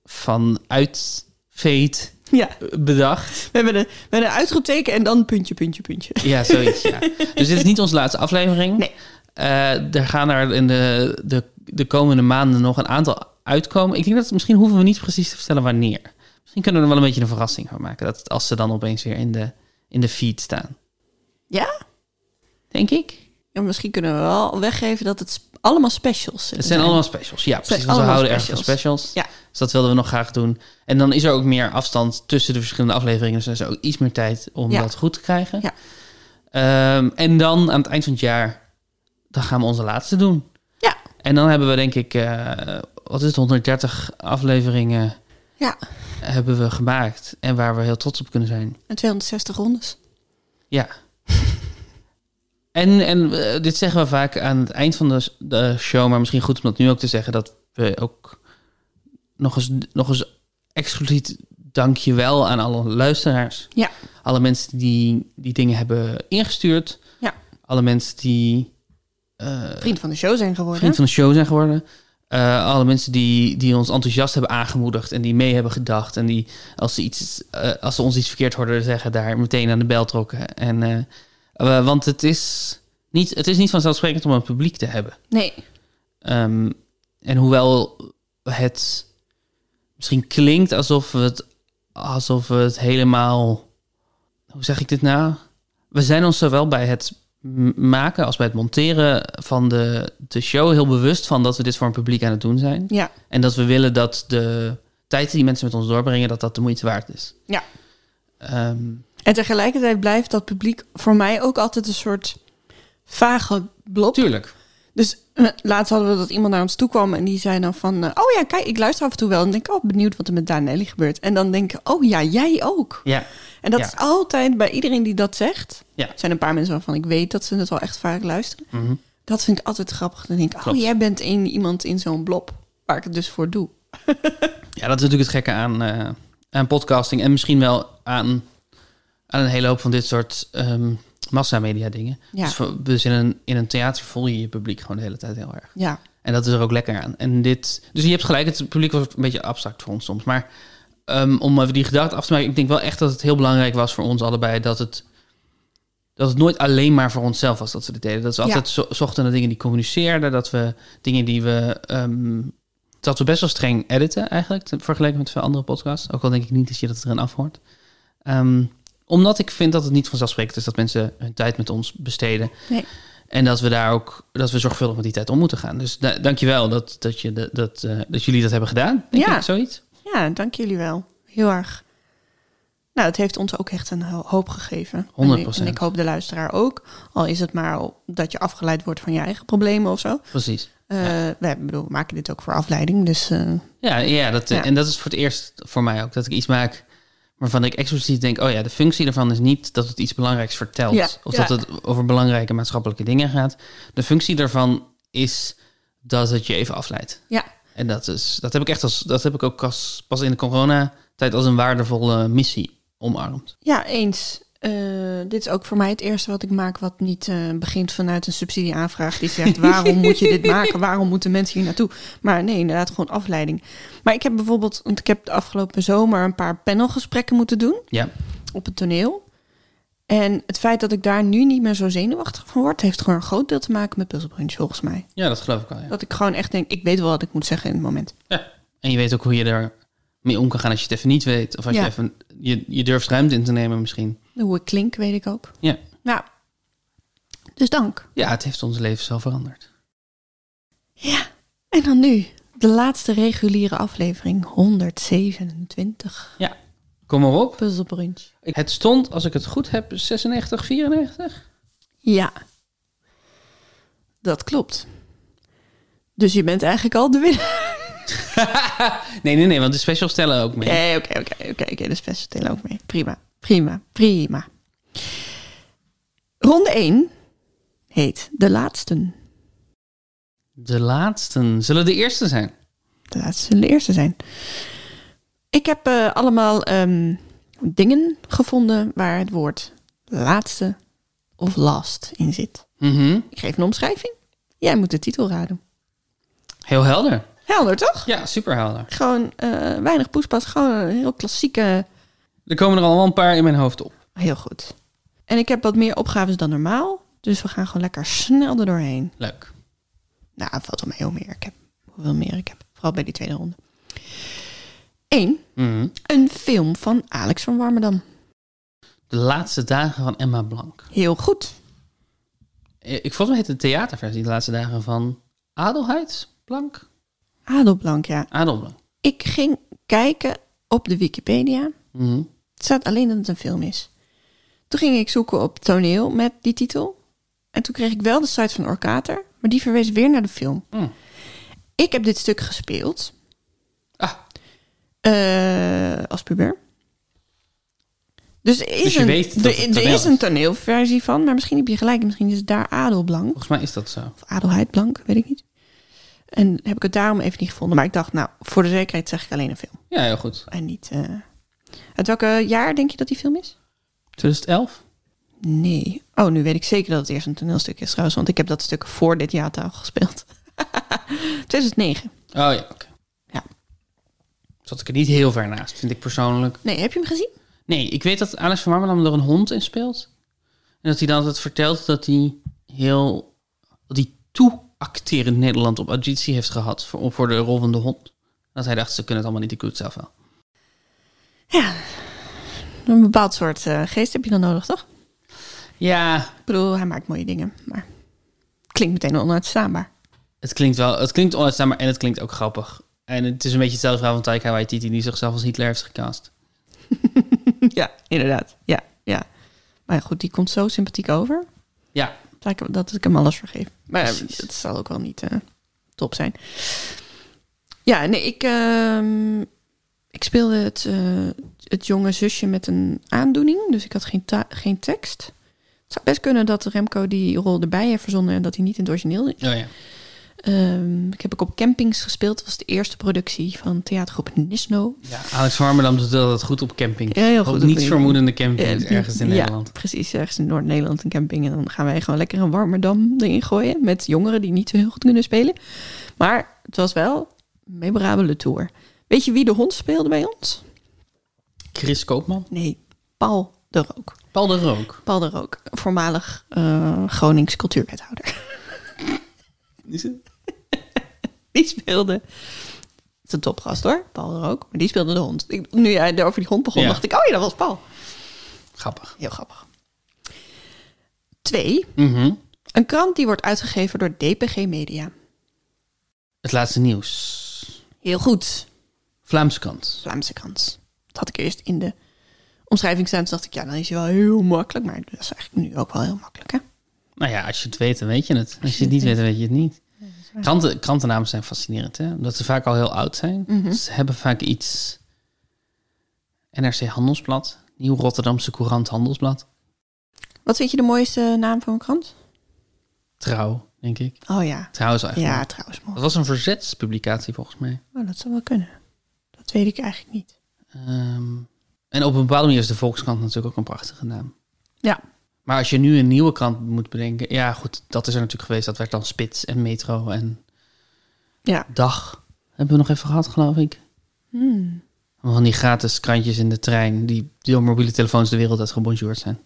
[SPEAKER 1] van uitveet
[SPEAKER 2] ja.
[SPEAKER 1] bedacht.
[SPEAKER 2] We hebben, een, we hebben een uitroepteken en dan puntje, puntje, puntje.
[SPEAKER 1] [laughs] Ja, zoiets, ja. Dus dit is niet onze laatste aflevering.
[SPEAKER 2] Nee.
[SPEAKER 1] Eh, er gaan er in de, de, de komende maanden nog een aantal uitkomen. Ik denk dat misschien hoeven we niet precies te vertellen wanneer. Misschien kunnen we er wel een beetje een verrassing van maken. Dat als ze dan opeens weer in de, in de feed staan.
[SPEAKER 2] Ja?
[SPEAKER 1] Denk ik.
[SPEAKER 2] En misschien kunnen we wel weggeven dat het sp- allemaal specials
[SPEAKER 1] Het zijn allemaal specials. Ja, precies. Want we
[SPEAKER 2] allemaal
[SPEAKER 1] houden erg van
[SPEAKER 2] specials.
[SPEAKER 1] specials.
[SPEAKER 2] Ja.
[SPEAKER 1] Dus dat wilden we nog graag doen. En dan is er ook meer afstand tussen de verschillende afleveringen. Dus er is ook iets meer tijd om
[SPEAKER 2] Ja.
[SPEAKER 1] dat goed te krijgen.
[SPEAKER 2] Ja.
[SPEAKER 1] Ehm, en dan aan het eind van het jaar, dan gaan we onze laatste doen.
[SPEAKER 2] Ja.
[SPEAKER 1] En dan hebben we denk ik, eh, wat is het, 130 afleveringen
[SPEAKER 2] Ja,
[SPEAKER 1] hebben we gemaakt. En waar we heel trots op kunnen zijn.
[SPEAKER 2] en 260 rondes.
[SPEAKER 1] Ja. en en eh, dit zeggen we vaak aan het eind van de, de show, maar misschien goed om dat nu ook te zeggen, dat we ook nog eens, nog eens expliciet dankjewel aan alle luisteraars.
[SPEAKER 2] Ja.
[SPEAKER 1] Alle mensen die, die dingen hebben ingestuurd.
[SPEAKER 2] Ja.
[SPEAKER 1] Alle mensen die eh,
[SPEAKER 2] Vriend van de show zijn geworden.
[SPEAKER 1] vriend van de show zijn geworden. Eh, alle mensen die, die ons enthousiast hebben aangemoedigd en die mee hebben gedacht. En die als ze, iets, eh, als ze ons iets verkeerd hoorden zeggen, daar meteen aan de bel trokken. En, eh, eh, want het is, niet, het is niet vanzelfsprekend om een publiek te hebben.
[SPEAKER 2] Nee,
[SPEAKER 1] Ehm, en hoewel het misschien klinkt alsof we het, alsof we het helemaal. Hoe zeg ik dit nou? We zijn ons zowel bij het m- maken als bij het monteren van de, de show heel bewust van dat we dit voor een publiek aan het doen zijn.
[SPEAKER 2] ja,
[SPEAKER 1] En dat we willen dat de tijd die mensen met ons doorbrengen, dat dat de moeite waard is.
[SPEAKER 2] ja.
[SPEAKER 1] Ehm,
[SPEAKER 2] En tegelijkertijd blijft dat publiek voor mij ook altijd een soort vage blob.
[SPEAKER 1] tuurlijk.
[SPEAKER 2] Dus eh, laatst hadden we dat iemand naar ons toe kwam en die zei dan van... eh, oh ja, kijk, ik luister af en toe wel en denk, oh, benieuwd wat er met Daan en Ellie gebeurt. En dan denk ik, oh ja, jij ook.
[SPEAKER 1] Ja.
[SPEAKER 2] En dat
[SPEAKER 1] Ja.
[SPEAKER 2] is altijd bij iedereen die dat zegt.
[SPEAKER 1] Ja.
[SPEAKER 2] Er zijn een paar mensen waarvan ik weet dat ze het wel echt vaak luisteren.
[SPEAKER 1] Mhm.
[SPEAKER 2] Dat vind ik altijd grappig. Dan denk ik,
[SPEAKER 1] Klopt.
[SPEAKER 2] oh, jij bent een, iemand in zo'n blob waar ik het dus voor doe.
[SPEAKER 1] Ja, dat is natuurlijk het gekke aan, eh, aan podcasting. En misschien wel aan, aan een hele hoop van dit soort ehm massamedia dingen.
[SPEAKER 2] Ja.
[SPEAKER 1] Dus, voor- dus in, een, in een theater voel je je publiek gewoon de hele tijd heel erg.
[SPEAKER 2] Ja,
[SPEAKER 1] En dat is er ook lekker aan. En dit, dus je hebt gelijk, het publiek was een beetje abstract voor ons soms. Maar ehm, om even die gedachte af te maken, ik denk wel echt dat het heel belangrijk was voor ons allebei dat het, dat het nooit alleen maar voor onszelf was dat we dit deden. Dat we
[SPEAKER 2] Ja.
[SPEAKER 1] altijd zo, zochten naar dingen die communiceerden, dat we dingen die we. ehm, dat we best wel streng editen eigenlijk, te- vergeleken met veel andere podcasts. Ook al denk ik niet dat je dat erin afhoort. Ehm, omdat ik vind dat het niet vanzelfsprekend is dat mensen hun tijd met ons besteden.
[SPEAKER 2] Nee.
[SPEAKER 1] En dat we daar ook dat we zorgvuldig met die tijd om moeten gaan. Dus da dankjewel dat, dat, je de- dat, eh, dat jullie dat hebben gedaan. Denk
[SPEAKER 2] Ja.
[SPEAKER 1] ik, zoiets.
[SPEAKER 2] ja dank jullie wel. Heel erg. Nou, het heeft ons ook echt een ho- hoop gegeven.
[SPEAKER 1] 100%.
[SPEAKER 2] En ik, en ik hoop de luisteraar ook. Al is het maar dat je afgeleid wordt van je eigen problemen of zo.
[SPEAKER 1] Precies.
[SPEAKER 2] Eh, we, bedoel, we maken dit ook voor afleiding, dus... eh,
[SPEAKER 1] Ja, ja, dat, eh,
[SPEAKER 2] Ja.
[SPEAKER 1] en dat is voor het eerst voor mij ook. Dat ik iets maak waarvan ik expliciet denk... oh ja, de functie daarvan is niet dat het iets belangrijks vertelt.
[SPEAKER 2] Ja,
[SPEAKER 1] Of
[SPEAKER 2] ja.
[SPEAKER 1] dat het over belangrijke maatschappelijke dingen gaat. De functie daarvan is dat het je even afleidt.
[SPEAKER 2] Ja.
[SPEAKER 1] En dat, is, dat heb ik echt als, dat heb ik ook als, pas in de coronatijd als een waardevolle missie omarmd.
[SPEAKER 2] Ja, eens. Eh, eh, dit is ook voor mij het eerste wat ik maak wat niet eh, begint vanuit een subsidieaanvraag die zegt waarom moet je
[SPEAKER 1] [laughs]
[SPEAKER 2] dit maken, waarom moeten mensen hier naartoe. Maar nee, inderdaad gewoon afleiding. Maar ik heb bijvoorbeeld, want ik heb de afgelopen zomer een paar panelgesprekken moeten doen
[SPEAKER 1] Ja.
[SPEAKER 2] op het toneel. En het feit dat ik daar nu niet meer zo zenuwachtig van word, heeft gewoon een groot deel te maken met puzzelbrunch volgens mij.
[SPEAKER 1] ja, dat geloof ik wel. Ja.
[SPEAKER 2] Dat ik gewoon echt denk, ik weet wel wat ik moet zeggen in het moment.
[SPEAKER 1] Ja. En je weet ook hoe je daar mee om kan gaan als je het even niet weet. Of als je
[SPEAKER 2] Ja.
[SPEAKER 1] even... Je, je durft ruimte in te nemen misschien.
[SPEAKER 2] Hoe ik klink, weet ik ook.
[SPEAKER 1] Ja.
[SPEAKER 2] Nou, dus dank.
[SPEAKER 1] Ja, het heeft ons leven zo veranderd.
[SPEAKER 2] Ja, en dan nu de laatste reguliere aflevering, 127.
[SPEAKER 1] Kom maar op.
[SPEAKER 2] Puzzlebrunch.
[SPEAKER 1] Het stond, als ik het goed heb, 96, 94?
[SPEAKER 2] Ja, dat klopt. Dus je bent eigenlijk al de winnaar.
[SPEAKER 1] [laughs] nee, nee, nee, want de specials tellen ook mee.
[SPEAKER 2] Nee, Eh, oké, oké, oké, oké. Dus best telen ook mee. Prima, prima, prima. Ronde 1 heet de laatsten.
[SPEAKER 1] De laatsten zullen de eerste zijn.
[SPEAKER 2] De laatste zullen de eerste zijn. Ik heb eh, allemaal ehm, dingen gevonden waar het woord laatste of last in zit.
[SPEAKER 1] Mhm.
[SPEAKER 2] Ik geef een omschrijving. Jij moet de titel raden.
[SPEAKER 1] Heel helder.
[SPEAKER 2] Helder, toch?
[SPEAKER 1] Ja, super helder.
[SPEAKER 2] Gewoon eh, weinig poespas. Gewoon een heel klassieke...
[SPEAKER 1] Er komen er allemaal een paar in mijn hoofd op.
[SPEAKER 2] Heel goed. En ik heb wat meer opgaves dan normaal. Dus we gaan gewoon lekker snel er doorheen.
[SPEAKER 1] Leuk.
[SPEAKER 2] Nou, het valt om heel meer. Ik heb hoeveel meer ik heb. Vooral bij die tweede ronde. 1.
[SPEAKER 1] Mhm.
[SPEAKER 2] Een film van Alex van Warmerdam.
[SPEAKER 1] De laatste dagen van Emma Blank.
[SPEAKER 2] Heel goed.
[SPEAKER 1] Eh, Ik volgens mij heet het de theaterversie de laatste dagen van Adelheid Blank.
[SPEAKER 2] Adelblank, ja.
[SPEAKER 1] Adel Blank.
[SPEAKER 2] Ik ging kijken op de Wikipedia.
[SPEAKER 1] Mhm.
[SPEAKER 2] Het staat alleen dat het een film is. Toen ging ik zoeken op toneel met die titel. En toen kreeg ik wel de site van Orkater. Maar die verwees weer naar de film.
[SPEAKER 1] Mm.
[SPEAKER 2] Ik heb dit stuk gespeeld.
[SPEAKER 1] Ah,
[SPEAKER 2] Eh, als puber. Dus er is,
[SPEAKER 1] Dus je
[SPEAKER 2] een,
[SPEAKER 1] weet dat
[SPEAKER 2] er-
[SPEAKER 1] het
[SPEAKER 2] er
[SPEAKER 1] toneel
[SPEAKER 2] is
[SPEAKER 1] is.
[SPEAKER 2] een toneelversie van, maar misschien heb je gelijk. Misschien is het daar Adelblank.
[SPEAKER 1] volgens mij is dat zo.
[SPEAKER 2] Of Adelheidblank, weet ik niet. En heb ik het daarom even niet gevonden. Maar ik dacht, nou, voor de zekerheid zeg ik alleen een film.
[SPEAKER 1] Ja, heel goed.
[SPEAKER 2] En niet... eh, Uit welke jaar denk je dat die film is?
[SPEAKER 1] 2011?
[SPEAKER 2] Nee. Oh, nu weet ik zeker dat het eerst een toneelstuk is trouwens. Want ik heb dat stuk voor dit jaartaal gespeeld. [laughs] 2009.
[SPEAKER 1] Oh ja, oké.
[SPEAKER 2] Ja.
[SPEAKER 1] Zat ik er niet heel ver naast, vind ik persoonlijk.
[SPEAKER 2] Nee, heb je hem gezien?
[SPEAKER 1] Nee, ik weet dat Alex van Warmerdam er een hond in speelt. En dat hij dan altijd vertelt dat hij heel... Dat hij toe-acterend Nederland op auditie heeft gehad voor, voor de rol van de hond. Dat hij dacht, ze kunnen het allemaal niet, ik doe het zelf wel.
[SPEAKER 2] Een bepaald soort eh, geest heb je dan nodig, toch?
[SPEAKER 1] Ja,
[SPEAKER 2] Ik bedoel, hij maakt mooie dingen, maar klinkt meteen onuitstaanbaar.
[SPEAKER 1] het klinkt wel... Het klinkt onuitstaanbaar en het klinkt ook grappig. En het is een beetje hetzelfde verhaal van Taika Waititi... die zichzelf als Hitler heeft gecast.
[SPEAKER 2] ja, inderdaad. Ja, ja. Maar goed, die komt zo sympathiek over.
[SPEAKER 1] Ja,
[SPEAKER 2] Dat ik, dat ik hem alles vergeef. Maar ja,
[SPEAKER 1] Precies.
[SPEAKER 2] het zal ook wel niet eh, top zijn. Ja, nee, ik, ehm, ik speelde het, eh, het jonge zusje met een aandoening. Dus ik had geen, ta- geen tekst. Het zou best kunnen dat Remco die rol erbij heeft verzonnen... en dat hij niet in het origineel is.
[SPEAKER 1] oh ja.
[SPEAKER 2] Ehm, ik heb ook op campings gespeeld. Dat was de eerste productie van theatergroep Nisno.
[SPEAKER 1] ja Alex van Warmerdam doet dat goed op camping.
[SPEAKER 2] Ja, heel
[SPEAKER 1] Op
[SPEAKER 2] goed.
[SPEAKER 1] niets vermoedende campings
[SPEAKER 2] Ja,
[SPEAKER 1] ergens in
[SPEAKER 2] ja,
[SPEAKER 1] Nederland.
[SPEAKER 2] precies, ergens in Noord-Nederland een camping. En dan gaan wij gewoon lekker een Warmerdam erin gooien. Met jongeren die niet zo heel goed kunnen spelen. Maar het was wel een memorabele tour. Weet je wie de hond speelde bij ons?
[SPEAKER 1] Chris Koopman.
[SPEAKER 2] Nee, Paul de Rook.
[SPEAKER 1] Paul de Rook.
[SPEAKER 2] Paul de Rook, voormalig eh Gronings cultuurwethouder. [laughs]
[SPEAKER 1] Is het?
[SPEAKER 2] Die speelde... Het is een topgast hoor, Paul de Rook. Maar die speelde de hond. Ik, nu jij over die hond begon,
[SPEAKER 1] Ja.
[SPEAKER 2] dacht ik... Oh ja, dat was Paul.
[SPEAKER 1] Grappig.
[SPEAKER 2] Heel grappig. Twee,
[SPEAKER 1] Mhm.
[SPEAKER 2] een krant die wordt uitgegeven door DPG Media.
[SPEAKER 1] Het laatste nieuws.
[SPEAKER 2] Heel goed.
[SPEAKER 1] Vlaamse kant.
[SPEAKER 2] Vlaamse krant. Dat had ik eerst in de omschrijving staan. Toen dacht ik, ja, dan is hij wel heel makkelijk. Maar dat is eigenlijk nu ook wel heel makkelijk, hè?
[SPEAKER 1] Nou ja, als je het weet, dan weet je het. Als je het niet weet, dan weet je het niet. Kranten, krantennamen zijn fascinerend, hè? Omdat ze vaak al heel oud zijn.
[SPEAKER 2] Mhm.
[SPEAKER 1] Ze hebben vaak iets... NRC Handelsblad. Nieuw Rotterdamse Courant Handelsblad.
[SPEAKER 2] Wat vind je de mooiste naam voor een krant?
[SPEAKER 1] Trouw, denk ik.
[SPEAKER 2] Oh ja.
[SPEAKER 1] Trouw is wel echt
[SPEAKER 2] Ja,
[SPEAKER 1] mooi.
[SPEAKER 2] trouwens.
[SPEAKER 1] Dat
[SPEAKER 2] mooi.
[SPEAKER 1] was een verzetspublicatie, volgens mij.
[SPEAKER 2] Oh, dat zou wel kunnen. Dat weet ik eigenlijk niet.
[SPEAKER 1] Ehm, en op een bepaalde manier is de Volkskrant natuurlijk ook een prachtige naam.
[SPEAKER 2] Ja.
[SPEAKER 1] Maar als je nu een nieuwe krant moet bedenken... Ja, goed, dat is er natuurlijk geweest. Dat werd dan Spits en Metro en
[SPEAKER 2] Ja.
[SPEAKER 1] Dag. Hebben we nog even gehad, geloof ik.
[SPEAKER 2] Hmm.
[SPEAKER 1] Van die gratis krantjes in de trein... die door mobiele telefoons de wereld uit gebonjourd zijn.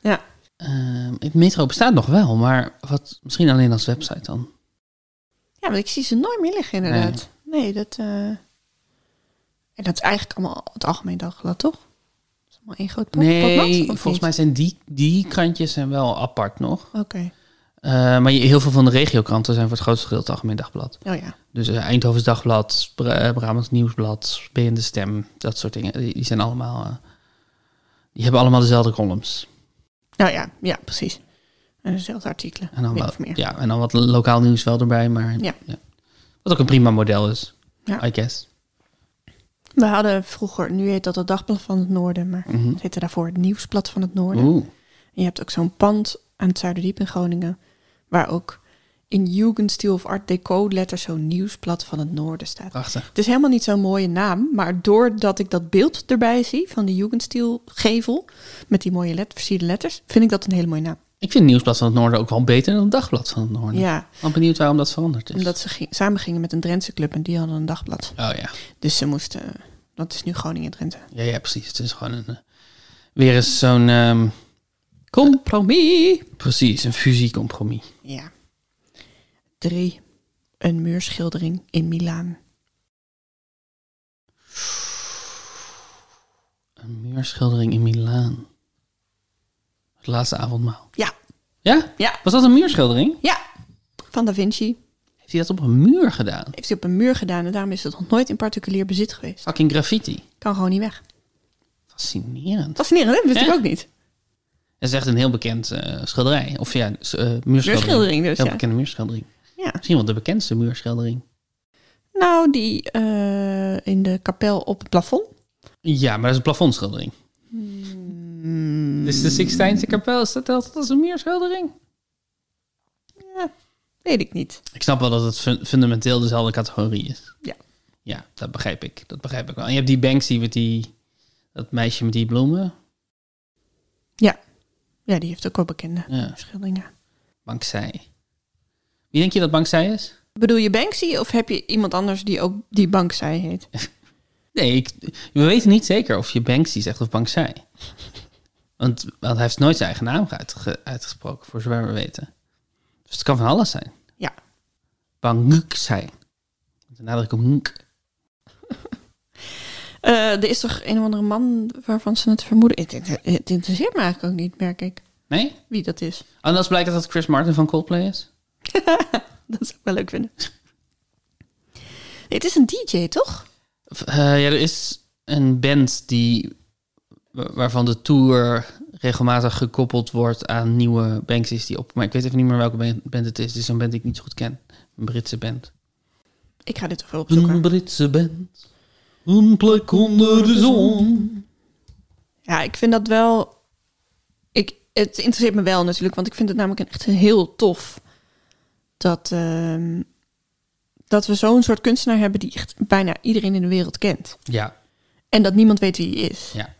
[SPEAKER 2] Ja.
[SPEAKER 1] Ehm, het Metro bestaat nog wel, maar wat, misschien alleen als website dan.
[SPEAKER 2] Ja, want ik zie ze nooit meer liggen, inderdaad. Nee, dat. eh, En dat is eigenlijk allemaal het algemeen dagblad, toch? Dat is allemaal één groot pop- potblad,
[SPEAKER 1] Nee,
[SPEAKER 2] of
[SPEAKER 1] volgens
[SPEAKER 2] niet?
[SPEAKER 1] mij zijn die, die krantjes zijn wel apart nog.
[SPEAKER 2] Oké.
[SPEAKER 1] Eh, maar je- heel veel van de regiokranten zijn voor het grootste gedeelte het Algemeen Dagblad.
[SPEAKER 2] Oh ja.
[SPEAKER 1] Dus eh, Eindhovens Dagblad, Bra- eh, Brabants Nieuwsblad, BN De Stem, dat soort dingen. Die, die zijn allemaal... eh, die hebben allemaal dezelfde columns.
[SPEAKER 2] Nou ja, ja, precies. En dezelfde artikelen.
[SPEAKER 1] En dan,
[SPEAKER 2] min
[SPEAKER 1] wel-
[SPEAKER 2] of meer.
[SPEAKER 1] Ja, en dan wat lokaal nieuws wel erbij, maar...
[SPEAKER 2] Ja.
[SPEAKER 1] Wat ook een prima model is,
[SPEAKER 2] Ja.
[SPEAKER 1] I guess.
[SPEAKER 2] We hadden vroeger, nu heet dat het Dagblad van het Noorden, maar
[SPEAKER 1] Mhm.
[SPEAKER 2] het heette daarvoor het Nieuwsblad van het Noorden.
[SPEAKER 1] Oeh,
[SPEAKER 2] En je hebt ook zo'n pand aan het Zuiderdiep in Groningen, waar ook in Jugendstil of Art Deco letters zo'n Nieuwsblad van het Noorden staat.
[SPEAKER 1] prachtig.
[SPEAKER 2] Het is helemaal niet zo'n mooie naam, maar doordat ik dat beeld erbij zie van de Jugendstil gevel met die mooie let versierde letters, vind ik dat een hele mooie naam.
[SPEAKER 1] Ik vind Nieuwsblad van het Noorden ook wel beter dan het Dagblad van het Noorden.
[SPEAKER 2] Ja,
[SPEAKER 1] Ik ben benieuwd waarom dat veranderd is.
[SPEAKER 2] omdat ze ging- samen gingen met een Drentse club en die hadden een dagblad.
[SPEAKER 1] Oh ja.
[SPEAKER 2] Dus ze moesten, want het is nu Groningen en Drenthe.
[SPEAKER 1] Ja, ja, precies. Het is gewoon een, eh, weer eens zo'n ehm, compromis. Precies, een fusiecompromis.
[SPEAKER 2] Ja. Drie, een muurschildering in Milaan.
[SPEAKER 1] Een muurschildering in Milaan. Het laatste avondmaal.
[SPEAKER 2] Ja.
[SPEAKER 1] Ja?
[SPEAKER 2] Ja.
[SPEAKER 1] Was dat een muurschildering?
[SPEAKER 2] Ja, van Da Vinci.
[SPEAKER 1] Heeft hij dat op een muur gedaan?
[SPEAKER 2] Heeft hij op een muur gedaan en daarom is het nog nooit in particulier bezit geweest.
[SPEAKER 1] Fucking graffiti.
[SPEAKER 2] Kan gewoon niet weg.
[SPEAKER 1] Fascinerend.
[SPEAKER 2] Fascinerend, hè? wist ik
[SPEAKER 1] Ja.
[SPEAKER 2] ook niet.
[SPEAKER 1] Het is echt een heel bekend eh, schilderij. Of ja, s- eh, muurschildering.
[SPEAKER 2] Muurschildering dus,
[SPEAKER 1] Heel
[SPEAKER 2] ja.
[SPEAKER 1] bekende muurschildering.
[SPEAKER 2] Ja.
[SPEAKER 1] Misschien wel de bekendste muurschildering.
[SPEAKER 2] Nou, die eh, in de kapel op het plafond.
[SPEAKER 1] Ja, maar dat is een plafondschildering.
[SPEAKER 2] Hmm.
[SPEAKER 1] Dus de Sixtijnse kapel, is dat altijd als een muurschildering?
[SPEAKER 2] Ja, weet ik niet.
[SPEAKER 1] Ik snap wel dat het fun- fundamenteel dezelfde categorie is.
[SPEAKER 2] Ja.
[SPEAKER 1] Ja, dat begrijp ik. Dat begrijp ik wel. En je hebt die Banksy met die... Dat meisje met die bloemen.
[SPEAKER 2] Ja, die heeft ook wel bekende
[SPEAKER 1] Ja,
[SPEAKER 2] schilderingen.
[SPEAKER 1] Banksy. Wie denk je dat Banksy is?
[SPEAKER 2] Bedoel je Banksy of heb je iemand anders die ook die Banksy heet?
[SPEAKER 1] Nee, ik, we weten niet zeker of je Banksy zegt of Banksy. [laughs] Want, want hij heeft nooit zijn eigen naam uitge- uitgesproken, voor zover we weten. Dus het kan van alles zijn.
[SPEAKER 2] Ja.
[SPEAKER 1] Banksy. De nadruk op nk.
[SPEAKER 2] Eh, er is toch een of andere man waarvan ze het vermoeden... Het, inter- het interesseert me eigenlijk ook niet, merk ik,
[SPEAKER 1] Nee?
[SPEAKER 2] wie dat is. [laughs]
[SPEAKER 1] Anders blijkt dat het Chris Martin van Coldplay is.
[SPEAKER 2] Dat zou ik wel leuk vinden. Nee, het is een DJ, toch?
[SPEAKER 1] Eh, ja, er is een band die, wa- waarvan de tour regelmatig gekoppeld wordt aan nieuwe Banksys die op. Maar ik weet even niet meer welke ban- band het is. Het is een band die ik niet zo goed ken. Een Britse band.
[SPEAKER 2] Ik ga dit even
[SPEAKER 1] Een
[SPEAKER 2] opzoeken.
[SPEAKER 1] Britse band. Een plek onder de zon.
[SPEAKER 2] Ja, ik vind dat wel... Ik, het interesseert me wel natuurlijk, want ik vind het namelijk een- echt heel tof... dat, ehm, dat we zo'n soort kunstenaar hebben die echt bijna iedereen in de wereld kent.
[SPEAKER 1] Ja,
[SPEAKER 2] En dat niemand weet wie hij is.
[SPEAKER 1] Ja.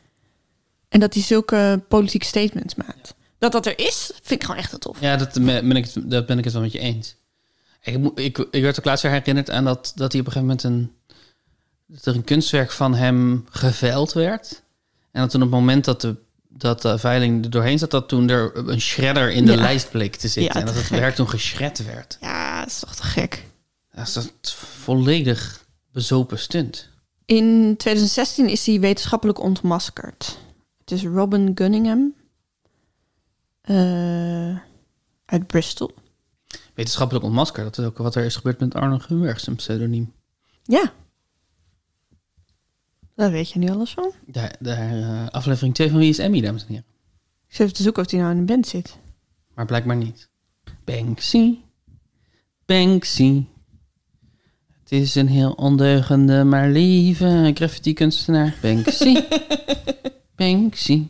[SPEAKER 2] En dat hij zulke politieke statements maakt. Dat dat er is, vind ik gewoon echt heel tof.
[SPEAKER 1] ja dat, me- ben ik, het- dat ben ik het wel met je eens. Ik, mo- ik, ik werd ook laatst weer herinnerd aan dat, dat hij op een gegeven moment een, dat er een kunstwerk van hem geveild werd. En dat toen op het moment dat de, dat de veiling er doorheen zat, dat toen er een shredder in de
[SPEAKER 2] Ja.
[SPEAKER 1] lijst bleek te zitten.
[SPEAKER 2] Ja,
[SPEAKER 1] en dat
[SPEAKER 2] te
[SPEAKER 1] het
[SPEAKER 2] gek.
[SPEAKER 1] werk toen geschred werd.
[SPEAKER 2] Ja, dat is toch te gek.
[SPEAKER 1] Dat is dat volledig bezopen stunt.
[SPEAKER 2] In 2016 is hij wetenschappelijk ontmaskerd. Het is Robin Gunningham eh, uit Bristol.
[SPEAKER 1] Wetenschappelijk ontmaskerd. Dat is ook wat er is gebeurd met Arno Gunberg, zijn pseudoniem.
[SPEAKER 2] Ja. Daar weet je nu alles van.
[SPEAKER 1] Daar, daar, eh, aflevering 2 van Wie is Emmy, dames en heren.
[SPEAKER 2] Ik zit even te zoeken of hij nou in een band zit.
[SPEAKER 1] Maar blijkbaar niet. Banksy. Banksy. Het is een heel ondeugende, maar lieve graffiti-kunstenaar. Banksy. [laughs] Banksy.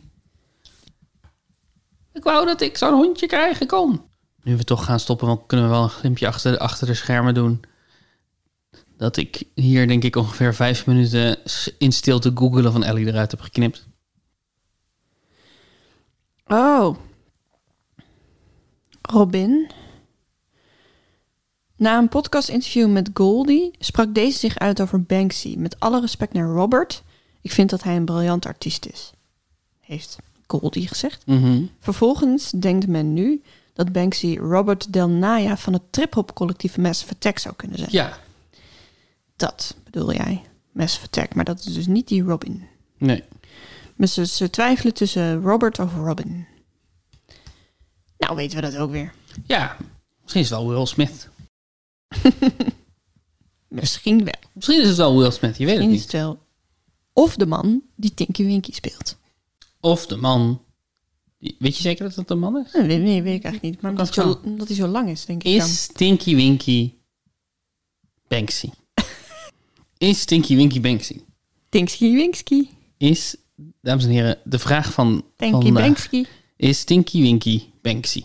[SPEAKER 1] Ik wou dat ik zo'n hondje krijgen kon. Nu we toch gaan stoppen, want kunnen we wel een glimpje achter, achter de schermen doen. Dat ik hier denk ik ongeveer vijf minuten s- in stilte googelen van Ellie eruit heb geknipt.
[SPEAKER 2] Oh. Robin. Na een podcastinterview met Goldie sprak deze zich uit over Banksy. Met alle respect naar Robert. Ik vind dat hij een briljant artiest is. Heeft Goldie gezegd.
[SPEAKER 1] Mhm.
[SPEAKER 2] Vervolgens denkt men nu dat Banksy Robert Del Naya van het trip-hop collectief Massive Attack zou kunnen zijn.
[SPEAKER 1] Ja.
[SPEAKER 2] Dat bedoel jij, Massive Attack, maar dat is dus niet die Robin.
[SPEAKER 1] Nee.
[SPEAKER 2] Maar ze, ze twijfelen tussen Robert of Robin. Nou weten we dat ook weer.
[SPEAKER 1] Ja. Misschien is het wel Will Smith.
[SPEAKER 2] [laughs] Misschien wel.
[SPEAKER 1] Misschien is het wel Will Smith, je weet het
[SPEAKER 2] Misschien is
[SPEAKER 1] niet.
[SPEAKER 2] het wel. Of de man die Tinky Winky speelt.
[SPEAKER 1] Of de man. Weet je zeker dat dat de man is?
[SPEAKER 2] Nee, weet, weet ik eigenlijk niet. Maar
[SPEAKER 1] Dat
[SPEAKER 2] omdat,
[SPEAKER 1] kan.
[SPEAKER 2] hij zo- omdat hij zo lang is, denk ik dan.
[SPEAKER 1] Is Stinky Winky
[SPEAKER 2] [laughs]
[SPEAKER 1] Banksy? is Stinky Winky Banksy?
[SPEAKER 2] Tinky Winky.
[SPEAKER 1] Is, dames en heren, de vraag van
[SPEAKER 2] Tinky
[SPEAKER 1] vandaag.
[SPEAKER 2] Banksy.
[SPEAKER 1] Is Stinky Winky Banksy?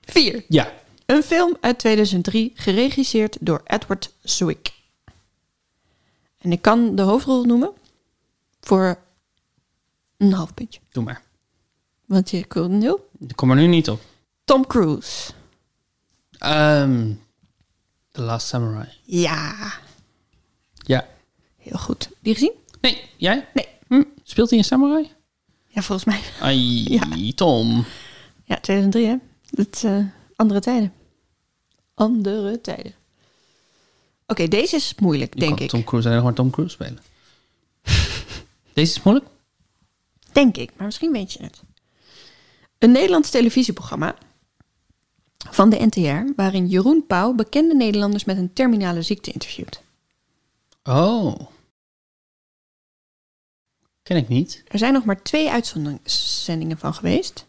[SPEAKER 2] 4.
[SPEAKER 1] Ja.
[SPEAKER 2] Een film uit 2003, geregisseerd door Edward Zwick. En ik kan de hoofdrol noemen voor een half puntje.
[SPEAKER 1] Doe maar.
[SPEAKER 2] Want je kon nul.
[SPEAKER 1] Ik kom er nu niet op.
[SPEAKER 2] Tom Cruise.
[SPEAKER 1] Ehm The Last Samurai.
[SPEAKER 2] Ja,
[SPEAKER 1] Ja.
[SPEAKER 2] heel goed. Die gezien?
[SPEAKER 1] Nee, jij?
[SPEAKER 2] Nee.
[SPEAKER 1] Hm, speelt hij een samurai?
[SPEAKER 2] Ja, volgens mij.
[SPEAKER 1] Ai,
[SPEAKER 2] Ja.
[SPEAKER 1] Tom.
[SPEAKER 2] Ja, 2003 hè. Dat eh, andere tijden. Andere tijden. Oké, deze is moeilijk,
[SPEAKER 1] Je
[SPEAKER 2] denk
[SPEAKER 1] kan
[SPEAKER 2] ik.
[SPEAKER 1] Tom Cruise en gewoon Tom Cruise
[SPEAKER 2] [laughs]
[SPEAKER 1] spelen. Deze is moeilijk.
[SPEAKER 2] Denk ik, maar misschien weet je het. Een Nederlands televisieprogramma van de NTR, waarin Jeroen Pauw bekende Nederlanders met een terminale ziekte interviewt.
[SPEAKER 1] Oh. Ken ik niet.
[SPEAKER 2] Er zijn nog maar twee uitzendingen van geweest.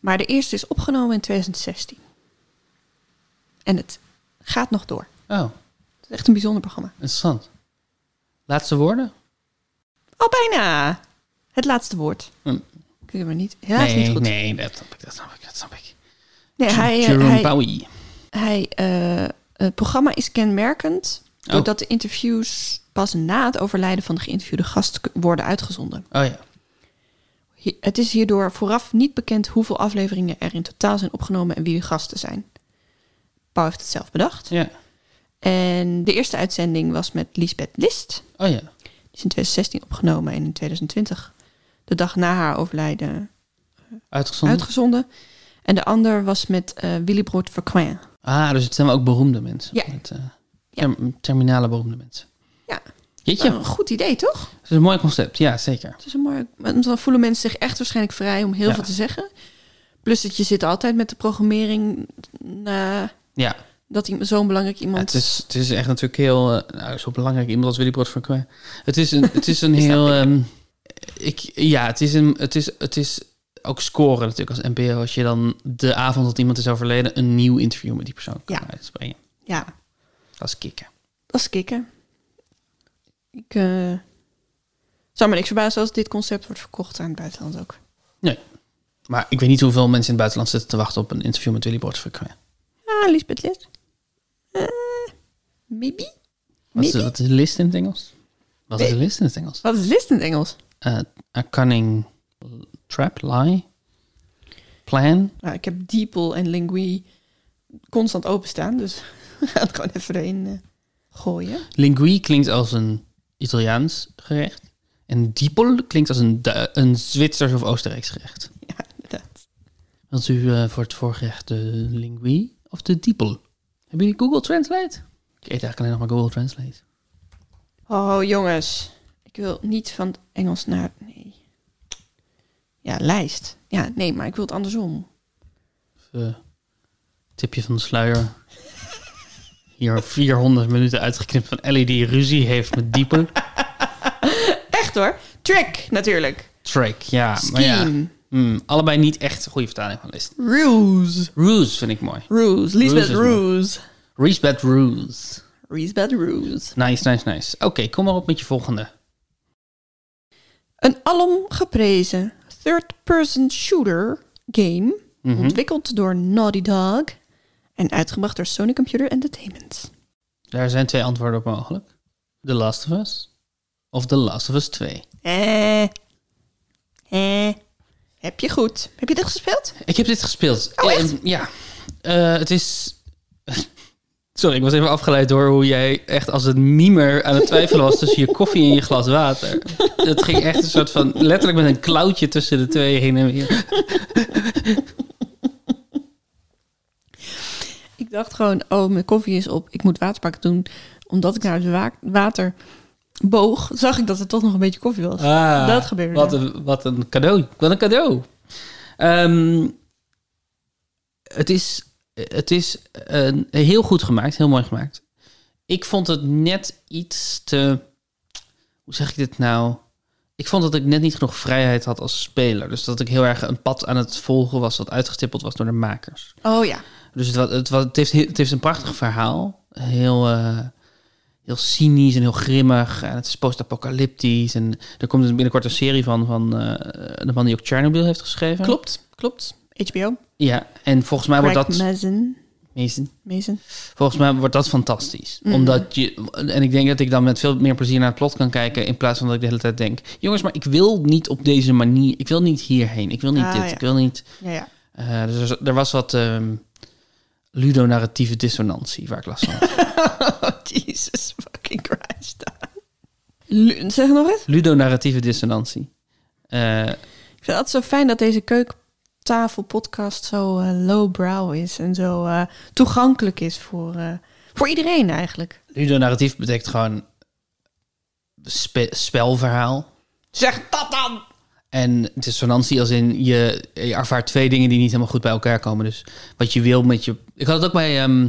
[SPEAKER 2] Maar de eerste is opgenomen in 2016. En het gaat nog door.
[SPEAKER 1] Oh,
[SPEAKER 2] Het is echt een bijzonder programma.
[SPEAKER 1] interessant. Laatste woorden?
[SPEAKER 2] Al Oh, bijna! Het laatste woord.
[SPEAKER 1] Hm.
[SPEAKER 2] Kunnen we niet. Helaas
[SPEAKER 1] nee,
[SPEAKER 2] niet goed.
[SPEAKER 1] nee, dat snap ik, dat snap ik, dat snap ik.
[SPEAKER 2] Nee, hij, eh,
[SPEAKER 1] Jerome
[SPEAKER 2] hij,
[SPEAKER 1] Bowie.
[SPEAKER 2] hij, eh, het programma is kenmerkend
[SPEAKER 1] Oh.
[SPEAKER 2] doordat de interviews pas na het overlijden van de geïnterviewde gast k- worden uitgezonden.
[SPEAKER 1] Oh ja.
[SPEAKER 2] Hi- Het is hierdoor vooraf niet bekend hoeveel afleveringen er in totaal zijn opgenomen en wie de gasten zijn. Paul heeft het zelf bedacht.
[SPEAKER 1] ja.
[SPEAKER 2] En de eerste uitzending was met Lisbeth List.
[SPEAKER 1] Oh ja.
[SPEAKER 2] Die is in 2016 opgenomen en in 2020, de dag na haar overlijden,
[SPEAKER 1] Uitgezonden.
[SPEAKER 2] uitgezonden. En de ander was met eh Willy Brood Verquin.
[SPEAKER 1] ah, dus het zijn wel ook beroemde mensen.
[SPEAKER 2] Ja.
[SPEAKER 1] Met, eh, term- terminale beroemde mensen.
[SPEAKER 2] Ja.
[SPEAKER 1] Jeetje,
[SPEAKER 2] Nou, een goed idee toch?
[SPEAKER 1] het is een mooi concept. Ja, zeker.
[SPEAKER 2] Het is een mooi, want dan voelen mensen zich echt waarschijnlijk vrij om heel
[SPEAKER 1] Ja.
[SPEAKER 2] veel te zeggen. Plus dat je zit altijd met de programmering na
[SPEAKER 1] Ja.
[SPEAKER 2] dat iemand- zo'n belangrijk
[SPEAKER 1] Ja,
[SPEAKER 2] iemand...
[SPEAKER 1] het, is, het is echt natuurlijk heel... eh, nou, zo belangrijk iemand als Willy Brood van Kwa. Het is een, het is
[SPEAKER 2] [laughs]
[SPEAKER 1] een heel... ehm, ik, ja, het is, een, het, is, het is ook scoren natuurlijk als NPO. Als je dan de avond dat iemand is overleden... een nieuw interview met die persoon kan
[SPEAKER 2] Ja.
[SPEAKER 1] uitspringen.
[SPEAKER 2] Ja,
[SPEAKER 1] Dat is kicken.
[SPEAKER 2] dat is kicken. Ik eh, zou me niks verbazen als dit concept wordt verkocht aan het buitenland ook.
[SPEAKER 1] Maar ik weet niet hoeveel mensen in het buitenland zitten te wachten... op een interview met Willy Brood van Kwa.
[SPEAKER 2] Ah, Lisbeth List. Eh, maybe?
[SPEAKER 1] Wat is,
[SPEAKER 2] Maybe?
[SPEAKER 1] wat is list in het Engels? Wat is list in het Engels?
[SPEAKER 2] Wat is list in het Engels?
[SPEAKER 1] Eh, a cunning l- trap, lie, plan.
[SPEAKER 2] Nou, ik heb DeepL en Lingui constant openstaan, dus [laughs] we gaan het gewoon even erin eh, gooien.
[SPEAKER 1] Lingui klinkt als een Italiaans gerecht. En diepel klinkt als een, Du- een Zwitsers of Oostenrijks gerecht.
[SPEAKER 2] [laughs] Ja, inderdaad.
[SPEAKER 1] Wilt u eh, voor het voorgerecht de lingui of de diepel? Hebben jullie Google Translate? Ik eet eigenlijk alleen nog maar Google Translate.
[SPEAKER 2] Oh, jongens. Ik wil niet van het Engels naar... Nee. Ja, lijst. Ja, nee, maar ik wil het andersom.
[SPEAKER 1] Eh, tipje van de
[SPEAKER 2] [laughs]
[SPEAKER 1] sluier. Hier 400 minuten uitgeknipt van Ellie die ruzie heeft met diepel.
[SPEAKER 2] Echt hoor. Trick, natuurlijk.
[SPEAKER 1] Track, ja. Maar ja,
[SPEAKER 2] Scheme.
[SPEAKER 1] Hmm, allebei niet echt een goede vertaling van list.
[SPEAKER 2] Ruse.
[SPEAKER 1] Ruse vind ik mooi.
[SPEAKER 2] Ruse. Lisbeth
[SPEAKER 1] Ruse is mooi.
[SPEAKER 2] Ruse.
[SPEAKER 1] Respect Ruse.
[SPEAKER 2] Lisbeth Ruse.
[SPEAKER 1] Nice, nice, nice. Oké, kom maar op met je volgende.
[SPEAKER 2] Een alom geprezen third-person shooter game...
[SPEAKER 1] Mhm.
[SPEAKER 2] ontwikkeld door Naughty Dog... en uitgebracht door Sony Computer Entertainment.
[SPEAKER 1] Daar zijn twee antwoorden op mogelijk. The Last of Us of The Last of Us 2.
[SPEAKER 2] Eh. Eh. Heb je goed. Heb je dit gespeeld?
[SPEAKER 1] Ik heb dit gespeeld.
[SPEAKER 2] Oh, echt?
[SPEAKER 1] Ehm, ja. Eh, het is... [laughs] Sorry, ik was even afgeleid door hoe jij echt als een mimer aan het twijfelen was tussen je koffie en je glas
[SPEAKER 2] [laughs]
[SPEAKER 1] water. Het ging echt een soort van letterlijk met een klauwtje tussen de twee heen en weer.
[SPEAKER 2] Ik dacht gewoon, oh, mijn koffie is op. Ik moet waterpakken doen. Omdat ik naar het wa- water boog, zag ik dat er toch nog een beetje koffie was.
[SPEAKER 1] Ah,
[SPEAKER 2] dat gebeurde.
[SPEAKER 1] Wat een, wat een cadeau. Wat een cadeau. Ehm, het is, het is een, heel goed gemaakt, heel mooi gemaakt. Ik vond het net iets te. Hoe zeg ik dit nou? Ik vond dat ik net niet genoeg vrijheid had als speler. Dus dat ik heel erg een pad aan het volgen was dat uitgestippeld was door de makers.
[SPEAKER 2] Oh ja.
[SPEAKER 1] Dus het, wa- het, wa- het, heeft, het heeft een prachtig verhaal. Heel, eh, heel cynisch en heel grimmig. En het is post-apocalyptisch. En er komt dus binnenkort een serie van, van eh, de man die ook Chernobyl heeft geschreven.
[SPEAKER 2] Klopt, klopt. HBO.
[SPEAKER 1] Ja, en volgens mij wordt
[SPEAKER 2] Craig
[SPEAKER 1] dat...
[SPEAKER 2] Mazin.
[SPEAKER 1] Mason.
[SPEAKER 2] Mazin.
[SPEAKER 1] Volgens mij wordt dat fantastisch.
[SPEAKER 2] Mhm.
[SPEAKER 1] Omdat je... En ik denk dat ik dan met veel meer plezier naar het plot kan kijken... in plaats van dat ik de hele tijd denk... jongens, maar ik wil niet op deze manier... ik wil niet hierheen, ik wil niet
[SPEAKER 2] Ah,
[SPEAKER 1] dit,
[SPEAKER 2] ja.
[SPEAKER 1] ik wil niet...
[SPEAKER 2] Ja, [laughs] ja.
[SPEAKER 1] Eh, dus er, er was wat ehm ludonarratieve dissonantie waar ik last
[SPEAKER 2] [laughs]
[SPEAKER 1] van had.
[SPEAKER 2] Oh, Jesus fucking Christ. Lu- Zeg nog eens.
[SPEAKER 1] Ludonarratieve dissonantie. Eh,
[SPEAKER 2] Ik vind het altijd zo fijn dat deze keukentafelpodcast zo eh, lowbrow is en zo eh, toegankelijk is voor, eh, voor iedereen eigenlijk.
[SPEAKER 1] ludonarratief betekent gewoon spe- spelverhaal.
[SPEAKER 2] Zeg dat dan!
[SPEAKER 1] En dissonantie als in je, je ervaart twee dingen die niet helemaal goed bij elkaar komen. Dus wat je wil met je... Ik had het ook bij ehm,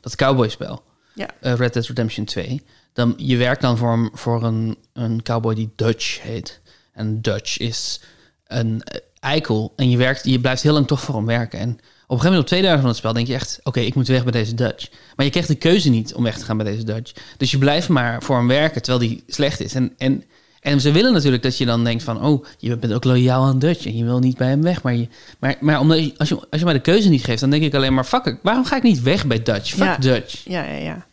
[SPEAKER 1] dat cowboyspel.
[SPEAKER 2] Ja.
[SPEAKER 1] eh, Red Dead Redemption 2. Dan, je werkt dan voor, een- voor een, een cowboy die Dutch heet. En Dutch is een eh, eikel. En je, werkt, je blijft heel lang toch voor hem werken. En op een gegeven moment op twee dagen van het spel denk je echt... oké, ik moet weg bij deze Dutch. Maar je krijgt de keuze niet om weg te gaan bij deze Dutch. Dus je blijft maar voor hem werken terwijl die slecht is. En, en, en ze willen natuurlijk dat je dan denkt van... oh, je bent ook loyaal aan Dutch en je wil niet bij hem weg. Maar, je, maar, maar omdat je, als, je, als je mij de keuze niet geeft, dan denk ik alleen maar... fuck, it, waarom ga ik niet weg bij Dutch? Fuck
[SPEAKER 2] Ja.
[SPEAKER 1] Dutch.
[SPEAKER 2] Ja, ja, ja.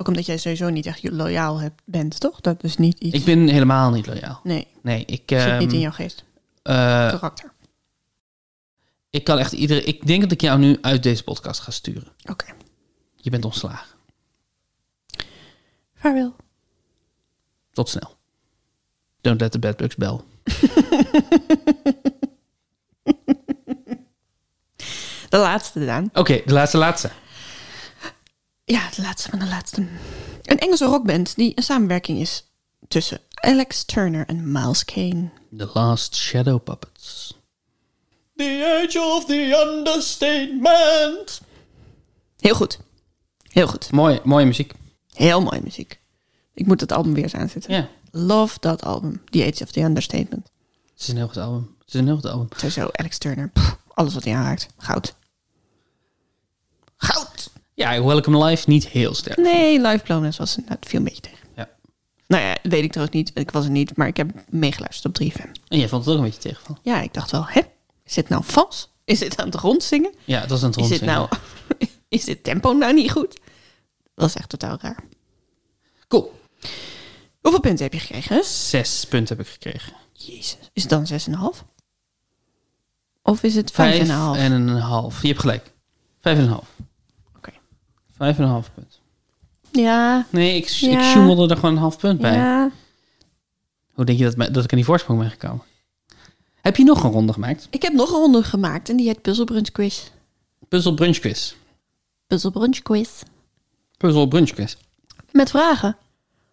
[SPEAKER 2] Ook omdat jij sowieso niet echt loyaal hebt, bent, toch? Dat is niet iets...
[SPEAKER 1] Ik ben helemaal niet loyaal.
[SPEAKER 2] Nee,
[SPEAKER 1] Nee, ik,
[SPEAKER 2] zit niet
[SPEAKER 1] ehm,
[SPEAKER 2] in jouw geest.
[SPEAKER 1] eh,
[SPEAKER 2] Karakter.
[SPEAKER 1] ik kan echt iedere. Ik denk dat ik jou nu uit deze podcast ga sturen.
[SPEAKER 2] Oké.
[SPEAKER 1] Je bent ontslagen.
[SPEAKER 2] Vaarwel. [laughs]
[SPEAKER 1] Tot snel. Don't let the bad bugs bell.
[SPEAKER 2] De laatste, Daan.
[SPEAKER 1] Oké, de laatste, laatste.
[SPEAKER 2] Ja, de laatste van de laatste. Een Engelse rockband die een samenwerking is tussen Alex Turner en Miles Kane.
[SPEAKER 1] The Last Shadow Puppets.
[SPEAKER 2] The age of the understatement. Heel goed. Heel goed.
[SPEAKER 1] Mooi, mooie muziek.
[SPEAKER 2] Heel mooie muziek. Ik moet dat album weer eens aanzetten.
[SPEAKER 1] Ja,
[SPEAKER 2] Love dat album. The Age of the Understatement.
[SPEAKER 1] het is een heel goed album. Het is een heel goed album.
[SPEAKER 2] Sowieso Alex Turner. Pff, alles wat hij aanraakt. Goud. Goud!
[SPEAKER 1] Ja, ik Welcome Live niet heel sterk.
[SPEAKER 2] Nee, Live Blondes was nou, het viel een beetje tegen.
[SPEAKER 1] Ja.
[SPEAKER 2] Nou ja, weet ik trouwens niet. Ik was er niet, maar ik heb meegeluisterd op 3FM.
[SPEAKER 1] En jij vond het ook een beetje tegenval.
[SPEAKER 2] Ja, ik dacht wel, hè? Is dit nou vals? Is dit aan het rondzingen?
[SPEAKER 1] Ja, het was een
[SPEAKER 2] Is dit
[SPEAKER 1] rondzingen.
[SPEAKER 2] nou... [laughs] Is dit tempo nou niet goed? Dat was echt totaal raar.
[SPEAKER 1] Cool.
[SPEAKER 2] Hoeveel punten heb je gekregen?
[SPEAKER 1] Zes punten heb ik gekregen.
[SPEAKER 2] Jezus. Is het dan 6,5? Of is het 5,5?
[SPEAKER 1] Vijf en een half. Je hebt gelijk. Vijf en een half.
[SPEAKER 2] Oké.
[SPEAKER 1] Vijf en een half punt.
[SPEAKER 2] Ja.
[SPEAKER 1] Nee, ik, s- ik
[SPEAKER 2] Ja.
[SPEAKER 1] sjoemelde er gewoon een half punt bij.
[SPEAKER 2] Ja.
[SPEAKER 1] Hoe denk je dat, me- dat ik aan die voorsprong ben gekomen? Heb je nog een ronde gemaakt?
[SPEAKER 2] Ik heb nog een ronde gemaakt en die heet Puzzle Brunch Quiz.
[SPEAKER 1] Puzzle brunch quiz.
[SPEAKER 2] Puzzle Brunch Quiz.
[SPEAKER 1] Puzzle brunch quiz.
[SPEAKER 2] Met vragen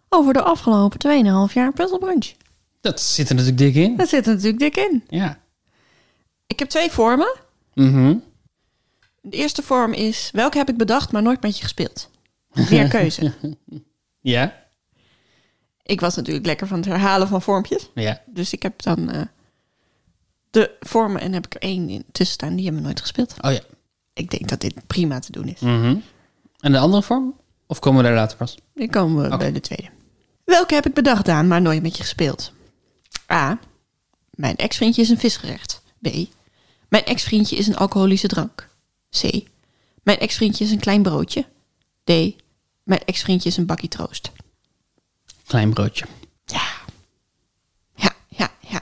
[SPEAKER 2] over de afgelopen 2,5 jaar Puzzle Brunch.
[SPEAKER 1] Dat zit er natuurlijk dik in.
[SPEAKER 2] Dat zit er natuurlijk dik in.
[SPEAKER 1] Ja.
[SPEAKER 2] Ik heb twee vormen.
[SPEAKER 1] Mhm.
[SPEAKER 2] De eerste vorm is, welke heb ik bedacht, maar nooit met je gespeeld? Meer keuze.
[SPEAKER 1] Ja.
[SPEAKER 2] ik was natuurlijk lekker van het herhalen van vormpjes.
[SPEAKER 1] Ja.
[SPEAKER 2] Dus ik heb dan eh, de vormen en heb ik er één in tussen staan. Die hebben we nooit gespeeld.
[SPEAKER 1] Oh ja.
[SPEAKER 2] Ik denk dat dit prima te doen is.
[SPEAKER 1] Mhm. En de andere vorm? Of komen we daar later pas?
[SPEAKER 2] Dan komen we bij de tweede. Welke heb ik bedacht, Daan, maar nooit met je gespeeld? A. Mijn ex-vriendje is een visgerecht. B. Mijn ex-vriendje is een alcoholische drank. C. Mijn ex-vriendje is een klein broodje. D. Mijn ex-vriendje is een bakkie troost.
[SPEAKER 1] Klein broodje.
[SPEAKER 2] Ja. Ja, ja, ja.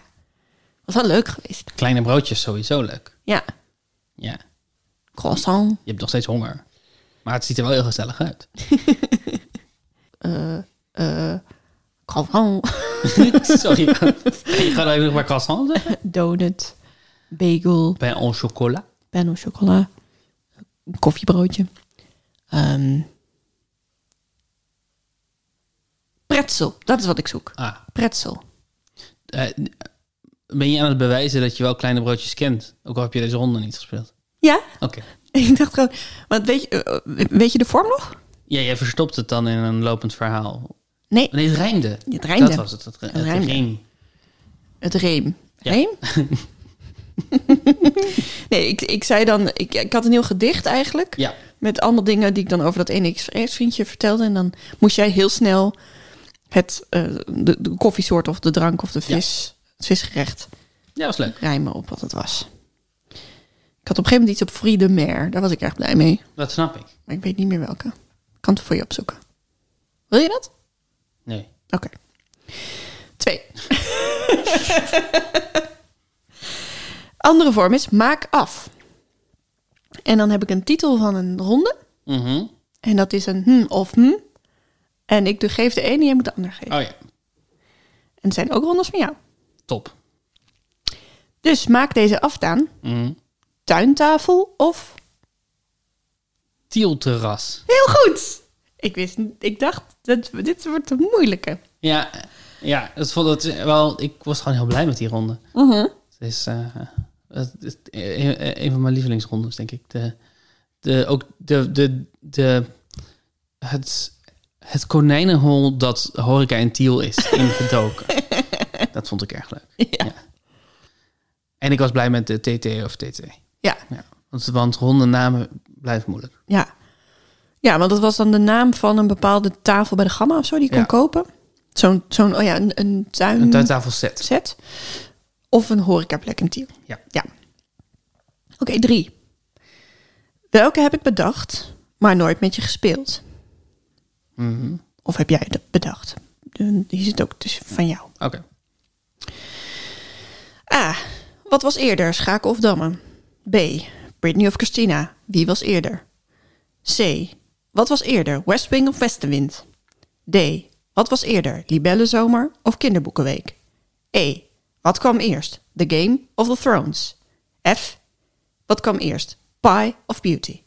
[SPEAKER 2] Was wel leuk geweest.
[SPEAKER 1] Kleine broodjes sowieso leuk.
[SPEAKER 2] Ja,
[SPEAKER 1] Ja.
[SPEAKER 2] croissant.
[SPEAKER 1] Je hebt nog steeds honger. Maar het ziet er wel heel gezellig uit. [laughs]
[SPEAKER 2] eh, croissant.
[SPEAKER 1] Sorry. je gaat even nog maar croissant zeggen?
[SPEAKER 2] [laughs] Donut. Bagel.
[SPEAKER 1] Bij en chocola.
[SPEAKER 2] Pain au chocola. Een koffiebroodje. Ehm pretzel. Dat is wat ik zoek.
[SPEAKER 1] Ah.
[SPEAKER 2] Pretzel.
[SPEAKER 1] eh, ben je aan het bewijzen dat je wel kleine broodjes kent? Ook al heb je deze ronde niet gespeeld.
[SPEAKER 2] Ja, [laughs]
[SPEAKER 1] Oké.
[SPEAKER 2] ik dacht gewoon... Want weet je, eh, weet je de vorm nog?
[SPEAKER 1] Ja, jij verstopt het dan in een lopend verhaal.
[SPEAKER 2] Nee,
[SPEAKER 1] Nee, het rijmde.
[SPEAKER 2] het rijmde.
[SPEAKER 1] Dat was het. Het, het,
[SPEAKER 2] Het rijmde.
[SPEAKER 1] ging.
[SPEAKER 2] Het reem.
[SPEAKER 1] Ja. [laughs]
[SPEAKER 2] Reem? nee, ik, ik zei dan... Ik, ik had een heel gedicht eigenlijk.
[SPEAKER 1] Ja.
[SPEAKER 2] Met allemaal dingen die ik dan over dat ene vriendje vertelde. En dan moest jij heel snel het, eh, de, de koffiesoort of de drank of de vis, het visgerecht
[SPEAKER 1] ja, was leuk.
[SPEAKER 2] rijmen op wat het was. Ik had op een gegeven moment iets op Free de Mer. Daar was ik erg blij mee.
[SPEAKER 1] Dat snap ik.
[SPEAKER 2] Maar ik weet niet meer welke. Ik kan het voor je opzoeken. Wil je dat?
[SPEAKER 1] Nee.
[SPEAKER 2] Oké. Twee. [laughs] Andere vorm is maak af. En dan heb ik een titel van een ronde.
[SPEAKER 1] Mhm.
[SPEAKER 2] En dat is een hm of hm. En ik doe- geef de ene en jij moet de ander geven.
[SPEAKER 1] Oh ja,
[SPEAKER 2] En het zijn ook rondes van jou.
[SPEAKER 1] top.
[SPEAKER 2] Dus maak deze aftaan.
[SPEAKER 1] Mhm.
[SPEAKER 2] Tuintafel of...
[SPEAKER 1] Tielterras.
[SPEAKER 2] Heel goed! Ik, wist, niet- ik dacht, dat, dit wordt een moeilijke.
[SPEAKER 1] Ja, ja dat vond het wel, ik was gewoon heel blij met die ronde.
[SPEAKER 2] Mhm.
[SPEAKER 1] Het is, eh, het, het- een, een van mijn lievelingsrondes, denk ik. De, de, ook de, de, de, het, het konijnenhol dat horeca en Tiel is ingedoken. dat vond ik erg leuk.
[SPEAKER 2] Ja.
[SPEAKER 1] En ik was blij met de TT of TT.
[SPEAKER 2] Ja.
[SPEAKER 1] Ja, want, want ronde namen blijft moeilijk.
[SPEAKER 2] Ja. Ja, want dat was dan de naam van een bepaalde tafel bij de Gamma of zo die je kon
[SPEAKER 1] Ja.
[SPEAKER 2] kopen. Zo'n, zo'n, oh ja, een, een
[SPEAKER 1] Een
[SPEAKER 2] tuinset.
[SPEAKER 1] tuintafelset.
[SPEAKER 2] Of een horecaplek in Tiel.
[SPEAKER 1] Ja.
[SPEAKER 2] ja. Oké, drie. Welke heb ik bedacht, maar nooit met je gespeeld?
[SPEAKER 1] Mhm.
[SPEAKER 2] Of heb jij dat bedacht? Die zit ook tussen van jou.
[SPEAKER 1] Oké.
[SPEAKER 2] A. Wat was eerder, Schaken of Dammen? B. Britney of Christina? Wie was eerder? C. Wat was eerder, West Wing of Westenwind? D. Wat was eerder, Libellenzomer of Kinderboekenweek? E. Wat kwam eerst, The Game of the Thrones? F. Wat kwam eerst, Pie of Beauty?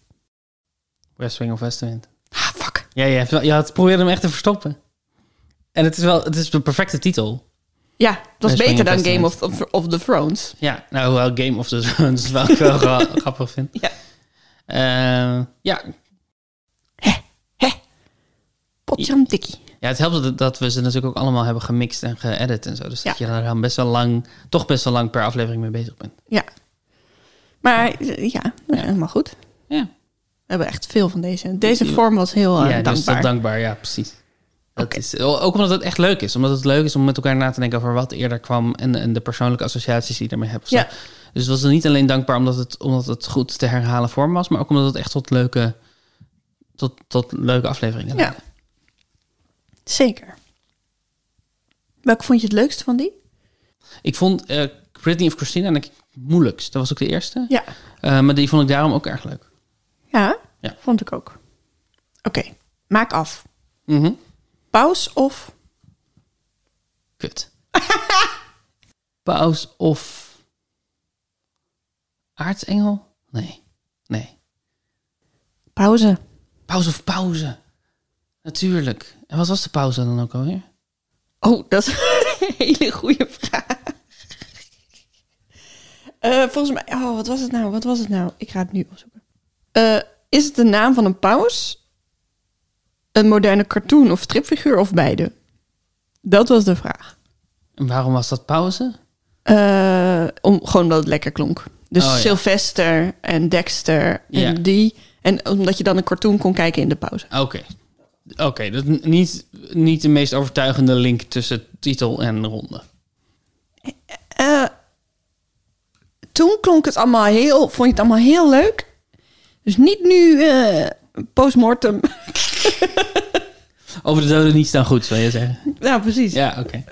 [SPEAKER 1] West Wing of Westenwind.
[SPEAKER 2] Ah, fuck.
[SPEAKER 1] Ja, je, hebt wel- je had probeerde hem echt te verstoppen. En het is wel, het is de perfecte titel.
[SPEAKER 2] Ja, dat was
[SPEAKER 1] West Wing
[SPEAKER 2] beter
[SPEAKER 1] of
[SPEAKER 2] dan Game
[SPEAKER 1] Westenwind.
[SPEAKER 2] of, of, of the Thrones.
[SPEAKER 1] Ja, nou, hoewel Game of the Thrones wel ik wel
[SPEAKER 2] [laughs]
[SPEAKER 1] gra- grappig vind.
[SPEAKER 2] Ja.
[SPEAKER 1] Eh, ja.
[SPEAKER 2] Potjamdikkie.
[SPEAKER 1] ja, het helpt dat, dat we ze natuurlijk ook allemaal hebben gemixt en geëdit en zo. Dus dat
[SPEAKER 2] Ja.
[SPEAKER 1] je daar dan best wel lang, toch best wel lang per aflevering mee bezig bent.
[SPEAKER 2] Ja. Maar eh, ja, nou ja, helemaal goed.
[SPEAKER 1] Ja,
[SPEAKER 2] We hebben echt veel van deze. Deze vorm was heel eh,
[SPEAKER 1] ja dus dat
[SPEAKER 2] dankbaar.
[SPEAKER 1] dankbaar, ja, precies. Dat
[SPEAKER 2] Oké.
[SPEAKER 1] is, ook omdat het echt leuk is. Omdat het leuk is om met elkaar na te denken over wat eerder kwam en, en de persoonlijke associaties die je ermee hebt. of zo.
[SPEAKER 2] Ja.
[SPEAKER 1] Dus het was niet alleen dankbaar omdat het, omdat het goed te herhalen vorm was, maar ook omdat het echt tot leuke, tot, tot leuke afleveringen
[SPEAKER 2] Ja.
[SPEAKER 1] leidde.
[SPEAKER 2] Zeker. Welke vond je het leukste van die?
[SPEAKER 1] Ik vond eh Britney of Christina denk ik het moeilijkst. Dat was ook de eerste.
[SPEAKER 2] Ja.
[SPEAKER 1] Eh, maar die vond ik daarom ook erg leuk.
[SPEAKER 2] Ja,
[SPEAKER 1] Ja.
[SPEAKER 2] vond ik ook. Oké, maak af.
[SPEAKER 1] Mhm.
[SPEAKER 2] Paus of...
[SPEAKER 1] Kut. Paus of aartsengel? Nee. Nee.
[SPEAKER 2] Pauze.
[SPEAKER 1] Paus of pauze. Natuurlijk. En wat was de pauze dan ook alweer?
[SPEAKER 2] Oh, dat is [laughs] een hele goede vraag. Eh, volgens mij... Oh, wat was het nou? Wat was het nou? Ik ga het nu opzoeken. Eh, is het de naam van een paus? Een moderne cartoon of stripfiguur of beide? Dat was de vraag.
[SPEAKER 1] En waarom was dat pauze?
[SPEAKER 2] Eh, om, gewoon omdat het lekker klonk. Dus
[SPEAKER 1] Oh, ja.
[SPEAKER 2] Sylvester en Dexter en
[SPEAKER 1] Ja.
[SPEAKER 2] die. En omdat je dan een cartoon kon kijken in de pauze.
[SPEAKER 1] Oké. Oké, dat is niet, niet de meest overtuigende link tussen titel en ronde.
[SPEAKER 2] Eh, toen klonk het allemaal heel, vond je het allemaal heel leuk. Dus niet nu eh postmortem. [laughs]
[SPEAKER 1] Over
[SPEAKER 2] [laughs]
[SPEAKER 1] de doden niets dan goed, zou je zeggen.
[SPEAKER 2] nou, precies.
[SPEAKER 1] Ja, oké.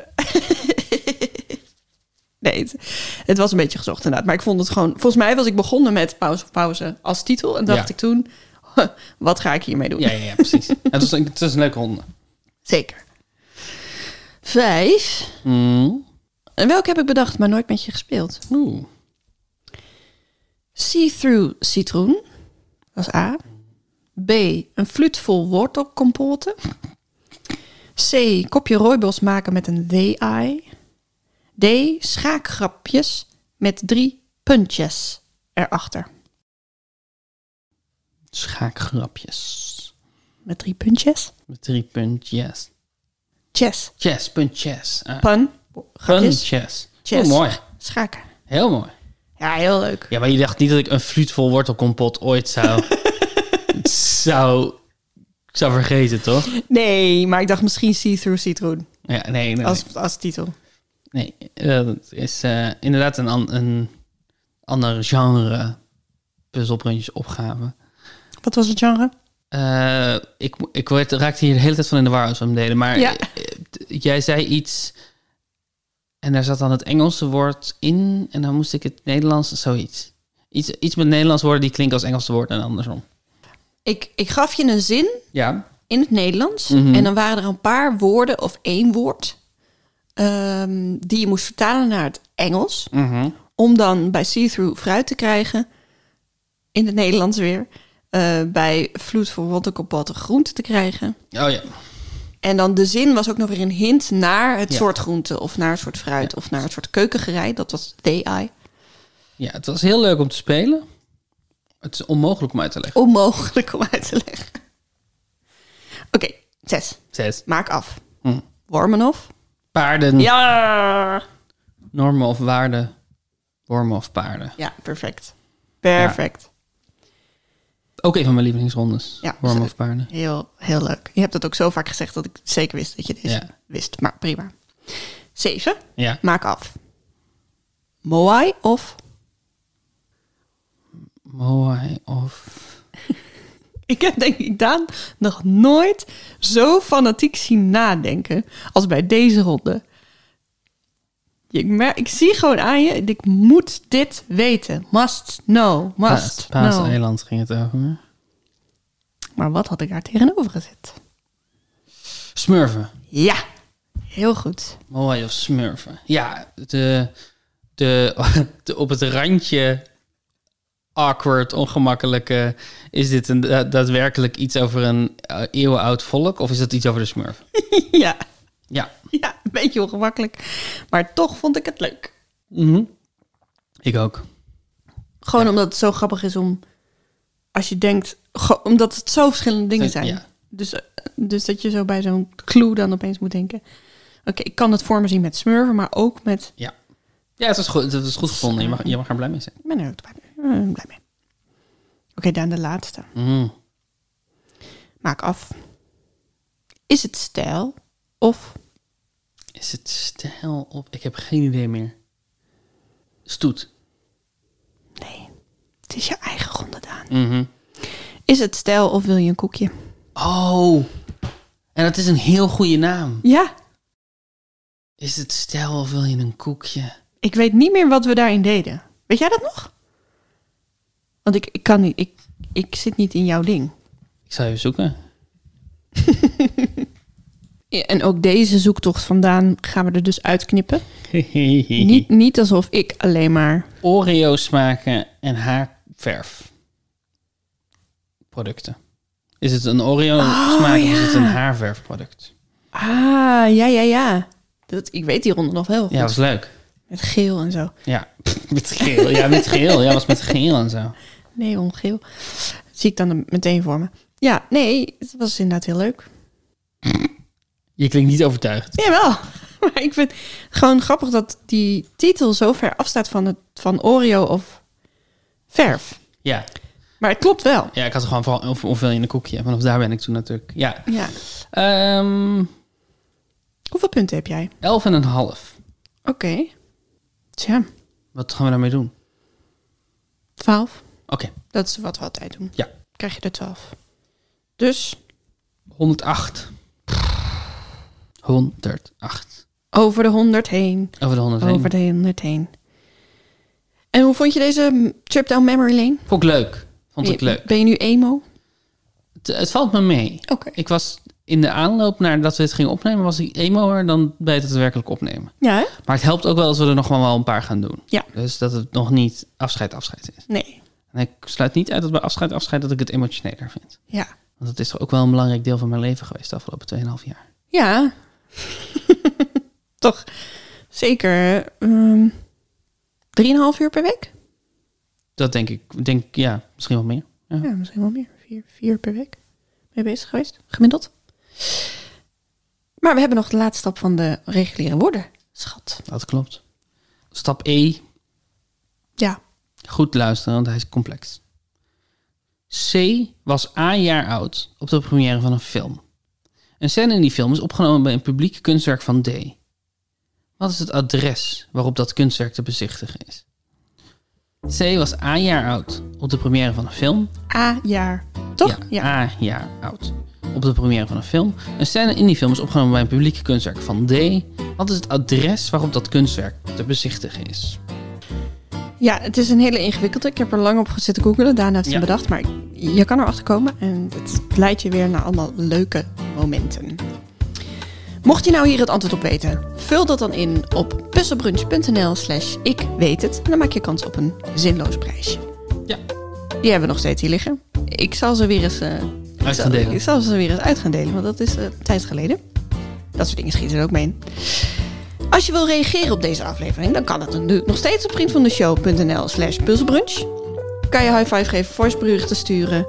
[SPEAKER 2] Nee, het, het was een beetje gezocht inderdaad. Maar ik vond het gewoon... Volgens mij was ik begonnen met Pauze of Pauze als titel. En dacht
[SPEAKER 1] Ja.
[SPEAKER 2] ik toen, "Huh, wat ga ik hiermee doen?
[SPEAKER 1] Ja, ja, ja [laughs] precies. het, was, een- het was een leuke ronde.
[SPEAKER 2] Zeker. Vijf.
[SPEAKER 1] Mm.
[SPEAKER 2] En welke heb ik bedacht, maar nooit met je gespeeld?
[SPEAKER 1] Oeh.
[SPEAKER 2] See-through citroen. Dat is A. B. Een fluit vol wortelcompote. C. Kopje rooibos maken met een DI. D. Schaakgrapjes met drie puntjes erachter.
[SPEAKER 1] Schaakgrapjes.
[SPEAKER 2] Met drie puntjes?
[SPEAKER 1] Met drie puntjes.
[SPEAKER 2] Chess.
[SPEAKER 1] Chess, puntjes. Ah,
[SPEAKER 2] Pun. Grapjes.
[SPEAKER 1] puntjes.
[SPEAKER 2] Chess.
[SPEAKER 1] Heel mooi.
[SPEAKER 2] Schaken.
[SPEAKER 1] Heel mooi.
[SPEAKER 2] Ja, heel leuk.
[SPEAKER 1] Ja, maar je dacht niet dat ik een fluit vol wortelkompot ooit [laughs] zou... zou... zou vergeten, toch?
[SPEAKER 2] Nee, maar ik dacht misschien see-through citroen
[SPEAKER 1] Ja, nee, nee.
[SPEAKER 2] als, als titel.
[SPEAKER 1] nee. Dat is eh, inderdaad een, an- een ander genre puzzelbruntjes opgave.
[SPEAKER 2] Wat was het genre?
[SPEAKER 1] Eh, ik, ik werd, raakte hier de hele tijd van in de war als we hem deden. Maar
[SPEAKER 2] Ja.
[SPEAKER 1] eh, t- jij zei iets en daar zat dan het Engelse woord in en dan moest ik het Nederlands, zoiets. Iets, iets met Nederlands woorden die klinken als Engelse woorden en andersom.
[SPEAKER 2] Ik, ik gaf je een zin
[SPEAKER 1] Ja.
[SPEAKER 2] in het Nederlands. En dan waren er een paar woorden of één woord ehm, die je moest vertalen naar het Engels.
[SPEAKER 1] Mhm.
[SPEAKER 2] Om dan bij see-through fruit te krijgen, in het Nederlands weer. eh, bij vloed voor waterkopotte groente te krijgen.
[SPEAKER 1] Oh ja.
[SPEAKER 2] En dan de zin was ook nog weer een hint naar het
[SPEAKER 1] Ja.
[SPEAKER 2] soort groente of naar het soort fruit of naar het soort keukengerei. Dat was DI.
[SPEAKER 1] Ja, het was heel leuk om te spelen. Het is onmogelijk om uit te leggen.
[SPEAKER 2] Onmogelijk om uit te leggen. Oké, zes.
[SPEAKER 1] Zes.
[SPEAKER 2] Maak af.
[SPEAKER 1] Hm.
[SPEAKER 2] Wormenhof.
[SPEAKER 1] Paarden,
[SPEAKER 2] Ja!
[SPEAKER 1] normen of waarden, wormen of paarden.
[SPEAKER 2] Ja, perfect. Perfect.
[SPEAKER 1] Ook een van mijn lievelingsrondes.
[SPEAKER 2] Ja.
[SPEAKER 1] wormen of paarden.
[SPEAKER 2] Heel, heel leuk. Je hebt dat ook zo vaak gezegd dat ik zeker wist dat je dit
[SPEAKER 1] Ja.
[SPEAKER 2] wist. Maar prima. Zeven.
[SPEAKER 1] Ja.
[SPEAKER 2] Maak af. Moai of... [laughs]
[SPEAKER 1] Moai of...
[SPEAKER 2] Ik heb denk ik Daan nog nooit zo fanatiek zien nadenken als bij deze ronde. Ik, mer- ik zie gewoon aan je, ik moet dit weten. Must know, must
[SPEAKER 1] Paas
[SPEAKER 2] know.
[SPEAKER 1] eiland ging het over.
[SPEAKER 2] Maar wat had ik daar tegenover gezet?
[SPEAKER 1] Smurfen.
[SPEAKER 2] Ja, heel goed. [laughs]
[SPEAKER 1] Moai of smurfen. Ja, de, de, [laughs] de- op het randje awkward, ongemakkelijke... Is dit een, da- daadwerkelijk iets over een eh, eeuwenoud volk? Of is dat iets over de smurfen?
[SPEAKER 2] ja.
[SPEAKER 1] Ja.
[SPEAKER 2] [laughs] Ja, een beetje ongemakkelijk. Maar toch vond ik het leuk.
[SPEAKER 1] Mhm. Ik ook.
[SPEAKER 2] Gewoon omdat het zo grappig is om... Als je denkt... ge- Omdat het zo verschillende dingen
[SPEAKER 1] Dat-
[SPEAKER 2] zijn.
[SPEAKER 1] ja.
[SPEAKER 2] Dus, eh, dus dat je zo bij zo'n clue dan opeens moet denken... Oké, ik kan het voor me zien met smurven, maar ook met...
[SPEAKER 1] Ja, ja het, was goed, het was goed gevonden. Je mag, je mag er blij mee zijn.
[SPEAKER 2] Ik ben er ook blij mee. Eh, blij mee. Oké, dan de laatste.
[SPEAKER 1] Mhm.
[SPEAKER 2] Maak af. Is het stijl of...
[SPEAKER 1] Is het stijl of... Ik heb geen idee meer. Stoet.
[SPEAKER 2] Nee, het is je eigen ronde, Daan.
[SPEAKER 1] Mhm.
[SPEAKER 2] Is het stijl of wil je een koekje?
[SPEAKER 1] Oh, en dat is een heel goede naam.
[SPEAKER 2] Ja,
[SPEAKER 1] Is het stijl of wil je een koekje?
[SPEAKER 2] Ik weet niet meer wat we daarin deden. Weet jij dat nog? Want ik, ik kan niet, ik, ik zit niet in jouw ding.
[SPEAKER 1] Ik zou je zoeken. [laughs]
[SPEAKER 2] Ja, En ook deze zoektocht vandaan gaan we er dus uitknippen. Niet, niet alsof ik alleen maar.
[SPEAKER 1] Oreo smaken en haarverf. Producten. Is het een Oreo smaak of is het een haarverfproduct?
[SPEAKER 2] Ah, ja, ja, ja. Dat, ik weet die ronde nog heel goed.
[SPEAKER 1] Ja, was leuk.
[SPEAKER 2] Met geel en zo.
[SPEAKER 1] Ja, [laughs] met geel. Ja, met geel. Ja, was met geel en zo.
[SPEAKER 2] Nee, ongeel. Zie ik dan meteen voor me. Ja, nee, het was inderdaad heel leuk.
[SPEAKER 1] Je klinkt niet overtuigd.
[SPEAKER 2] Jawel. [laughs] Maar ik vind het gewoon grappig dat die titel zo ver afstaat van, het, van Oreo of verf.
[SPEAKER 1] Ja,
[SPEAKER 2] Maar het klopt wel.
[SPEAKER 1] ja ik had er gewoon vooral of, of wil je een koekje. Vanaf daar ben ik toen natuurlijk. Ja.
[SPEAKER 2] Ja.
[SPEAKER 1] Ehm
[SPEAKER 2] Hoeveel punten heb jij?
[SPEAKER 1] elf en een half.
[SPEAKER 2] Oké. Tja,
[SPEAKER 1] Wat gaan we daarmee doen?
[SPEAKER 2] 12.
[SPEAKER 1] Oké,
[SPEAKER 2] Dat is wat we altijd doen.
[SPEAKER 1] ja.
[SPEAKER 2] Krijg je er 12. Dus,
[SPEAKER 1] 108. 108.
[SPEAKER 2] Over de 100 heen.
[SPEAKER 1] Over de 100 heen.
[SPEAKER 2] Over de 100 heen. En hoe vond je deze mm, trip down memory lane?
[SPEAKER 1] Vond ik leuk. Vond ik
[SPEAKER 2] Ben-
[SPEAKER 1] leuk.
[SPEAKER 2] Ben je nu emo?
[SPEAKER 1] Het, het valt me mee.
[SPEAKER 2] Oké.
[SPEAKER 1] Ik was in de aanloop naar dat we het gingen opnemen, was ik emoer dan bij het daadwerkelijk opnemen.
[SPEAKER 2] Ja, hè?
[SPEAKER 1] Maar het helpt ook wel als we er nog maar wel een paar gaan doen.
[SPEAKER 2] Ja.
[SPEAKER 1] Dus dat het nog niet afscheid afscheid is.
[SPEAKER 2] Nee.
[SPEAKER 1] En ik sluit niet uit dat bij afscheid afscheid dat ik het emotioneler vind.
[SPEAKER 2] Ja.
[SPEAKER 1] Want het is toch ook wel een belangrijk deel van mijn leven geweest de afgelopen 2,5 jaar.
[SPEAKER 2] Ja. [laughs] Toch. Zeker. ehm, Drieënhalf uur per week?
[SPEAKER 1] Dat denk ik, denk, ja, misschien wel meer. Ja.
[SPEAKER 2] Ja, misschien wel meer. Vier, vier uur per week mee bezig geweest, gemiddeld. Maar we hebben nog de laatste stap van de reguliere woorden, schat.
[SPEAKER 1] Dat klopt. Stap E,
[SPEAKER 2] Ja.
[SPEAKER 1] goed luisteren, want hij is complex. C was A jaar oud op de première van een film. Een scène in die film is opgenomen bij een publiek kunstwerk van D. Wat is het adres waarop dat kunstwerk te bezichtigen is? C was A jaar oud op de première van een film.
[SPEAKER 2] A jaar. Toch?
[SPEAKER 1] Ja, A jaar oud op de première van een film. Een scène in die film is opgenomen bij een publiek kunstwerk van D. Wat is het adres waarop dat kunstwerk te bezichtigen is?
[SPEAKER 2] Ja, het is een hele ingewikkelde. Ik heb er lang op gezitten googelen. Daarna heeft ze
[SPEAKER 1] Ja.
[SPEAKER 2] bedacht. Maar je kan erachter komen. En het leidt je weer naar allemaal leuke momenten. Mocht je nou hier het antwoord op weten, vul dat dan in op puzzelbrunch.nl slash ik weet het. En dan maak je kans op een zinloos prijsje.
[SPEAKER 1] Ja.
[SPEAKER 2] Die hebben we nog steeds hier liggen. Ik zal ze weer eens... eh, ik,
[SPEAKER 1] Uit
[SPEAKER 2] zal,
[SPEAKER 1] gaan delen.
[SPEAKER 2] ik zal ze weer eens uit gaan delen, want dat is eh, een tijd geleden. Dat soort dingen schieten er ook mee in. Als je wil reageren op deze aflevering, dan kan dat natuurlijk nog steeds op vriendvandeshow.nl slash puzzelbrunch. Kan je high five geven, voiceberichten sturen.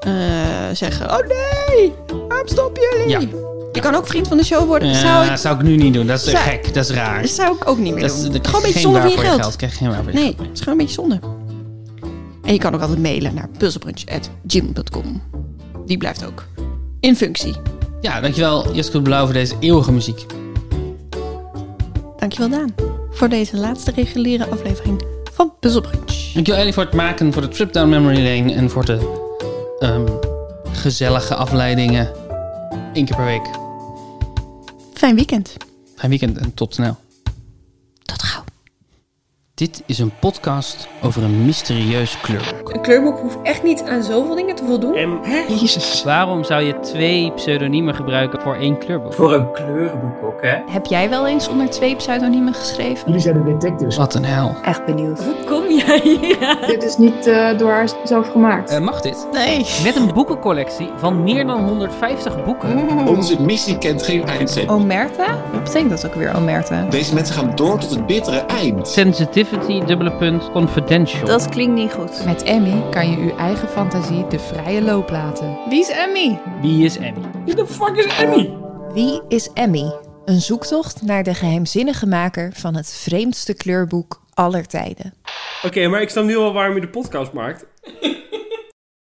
[SPEAKER 2] eh, zeggen, oh nee, waarom stop jullie?
[SPEAKER 1] Ja.
[SPEAKER 2] Je kan ook vriend van de show worden.
[SPEAKER 1] Ja,
[SPEAKER 2] zou, ik,
[SPEAKER 1] dat Eh, zou ik nu niet doen. Dat is
[SPEAKER 2] Zou-
[SPEAKER 1] gek. Dat is raar.
[SPEAKER 2] zou ik ook niet meer
[SPEAKER 1] Dat is,
[SPEAKER 2] doen.
[SPEAKER 1] dat
[SPEAKER 2] Ehm, Gewoon
[SPEAKER 1] krijg
[SPEAKER 2] een
[SPEAKER 1] je geen
[SPEAKER 2] beetje zonde
[SPEAKER 1] waar
[SPEAKER 2] van je
[SPEAKER 1] voor je
[SPEAKER 2] geld.
[SPEAKER 1] geld. Krijg je geen waar voor je
[SPEAKER 2] Nee,
[SPEAKER 1] geld.
[SPEAKER 2] het is gewoon een beetje zonde. En je kan ook altijd mailen naar puzzelbrunch.gmail.com. Die blijft ook. In functie.
[SPEAKER 1] Ja, dankjewel Jessica Blauw voor deze eeuwige muziek.
[SPEAKER 2] Dankjewel Daan. Voor deze laatste reguliere aflevering van Puzzelbrunch.
[SPEAKER 1] Dankjewel Ellie voor het maken, voor de trip down memory lane en voor de ehm, gezellige afleidingen. Eén keer per week.
[SPEAKER 2] Fijn weekend.
[SPEAKER 1] Fijn weekend en tot snel.
[SPEAKER 2] Tot gauw.
[SPEAKER 1] Dit is een podcast over een mysterieus kleurboek.
[SPEAKER 2] Een kleurboek hoeft echt niet aan zoveel dingen te voldoen.
[SPEAKER 3] Jezus.
[SPEAKER 1] Waarom zou je twee pseudoniemen gebruiken voor één kleurboek?
[SPEAKER 4] Voor een kleurenboek ook, hè?
[SPEAKER 5] Heb jij wel eens onder twee pseudoniemen geschreven?
[SPEAKER 3] Jullie zijn de detectives.
[SPEAKER 1] Wat een hel.
[SPEAKER 5] Echt benieuwd.
[SPEAKER 6] Dit is niet eh, door haar zelf gemaakt.
[SPEAKER 1] Eh, mag dit? Nee. Met een boekencollectie van meer dan 150 boeken.
[SPEAKER 7] Onze missie kent geen
[SPEAKER 8] Oh.
[SPEAKER 7] eindzet.
[SPEAKER 5] Omerta? Wat betekent dat ook weer, Omerta?
[SPEAKER 7] Deze mensen gaan door tot het bittere eind.
[SPEAKER 1] Sensitivity, dubbele punt, confidential.
[SPEAKER 5] klinkt niet goed.
[SPEAKER 9] Met Emmy kan je uw eigen fantasie de vrije loop laten.
[SPEAKER 6] Wie is Emmy?
[SPEAKER 1] Wie is Emmy?
[SPEAKER 4] Wie de fuck is Emmy?
[SPEAKER 8] Wie is Emmy? Een zoektocht naar de geheimzinnige maker van het vreemdste kleurboek aller tijden.
[SPEAKER 10] Oké, maar ik snap nu al waarom je de podcast maakt.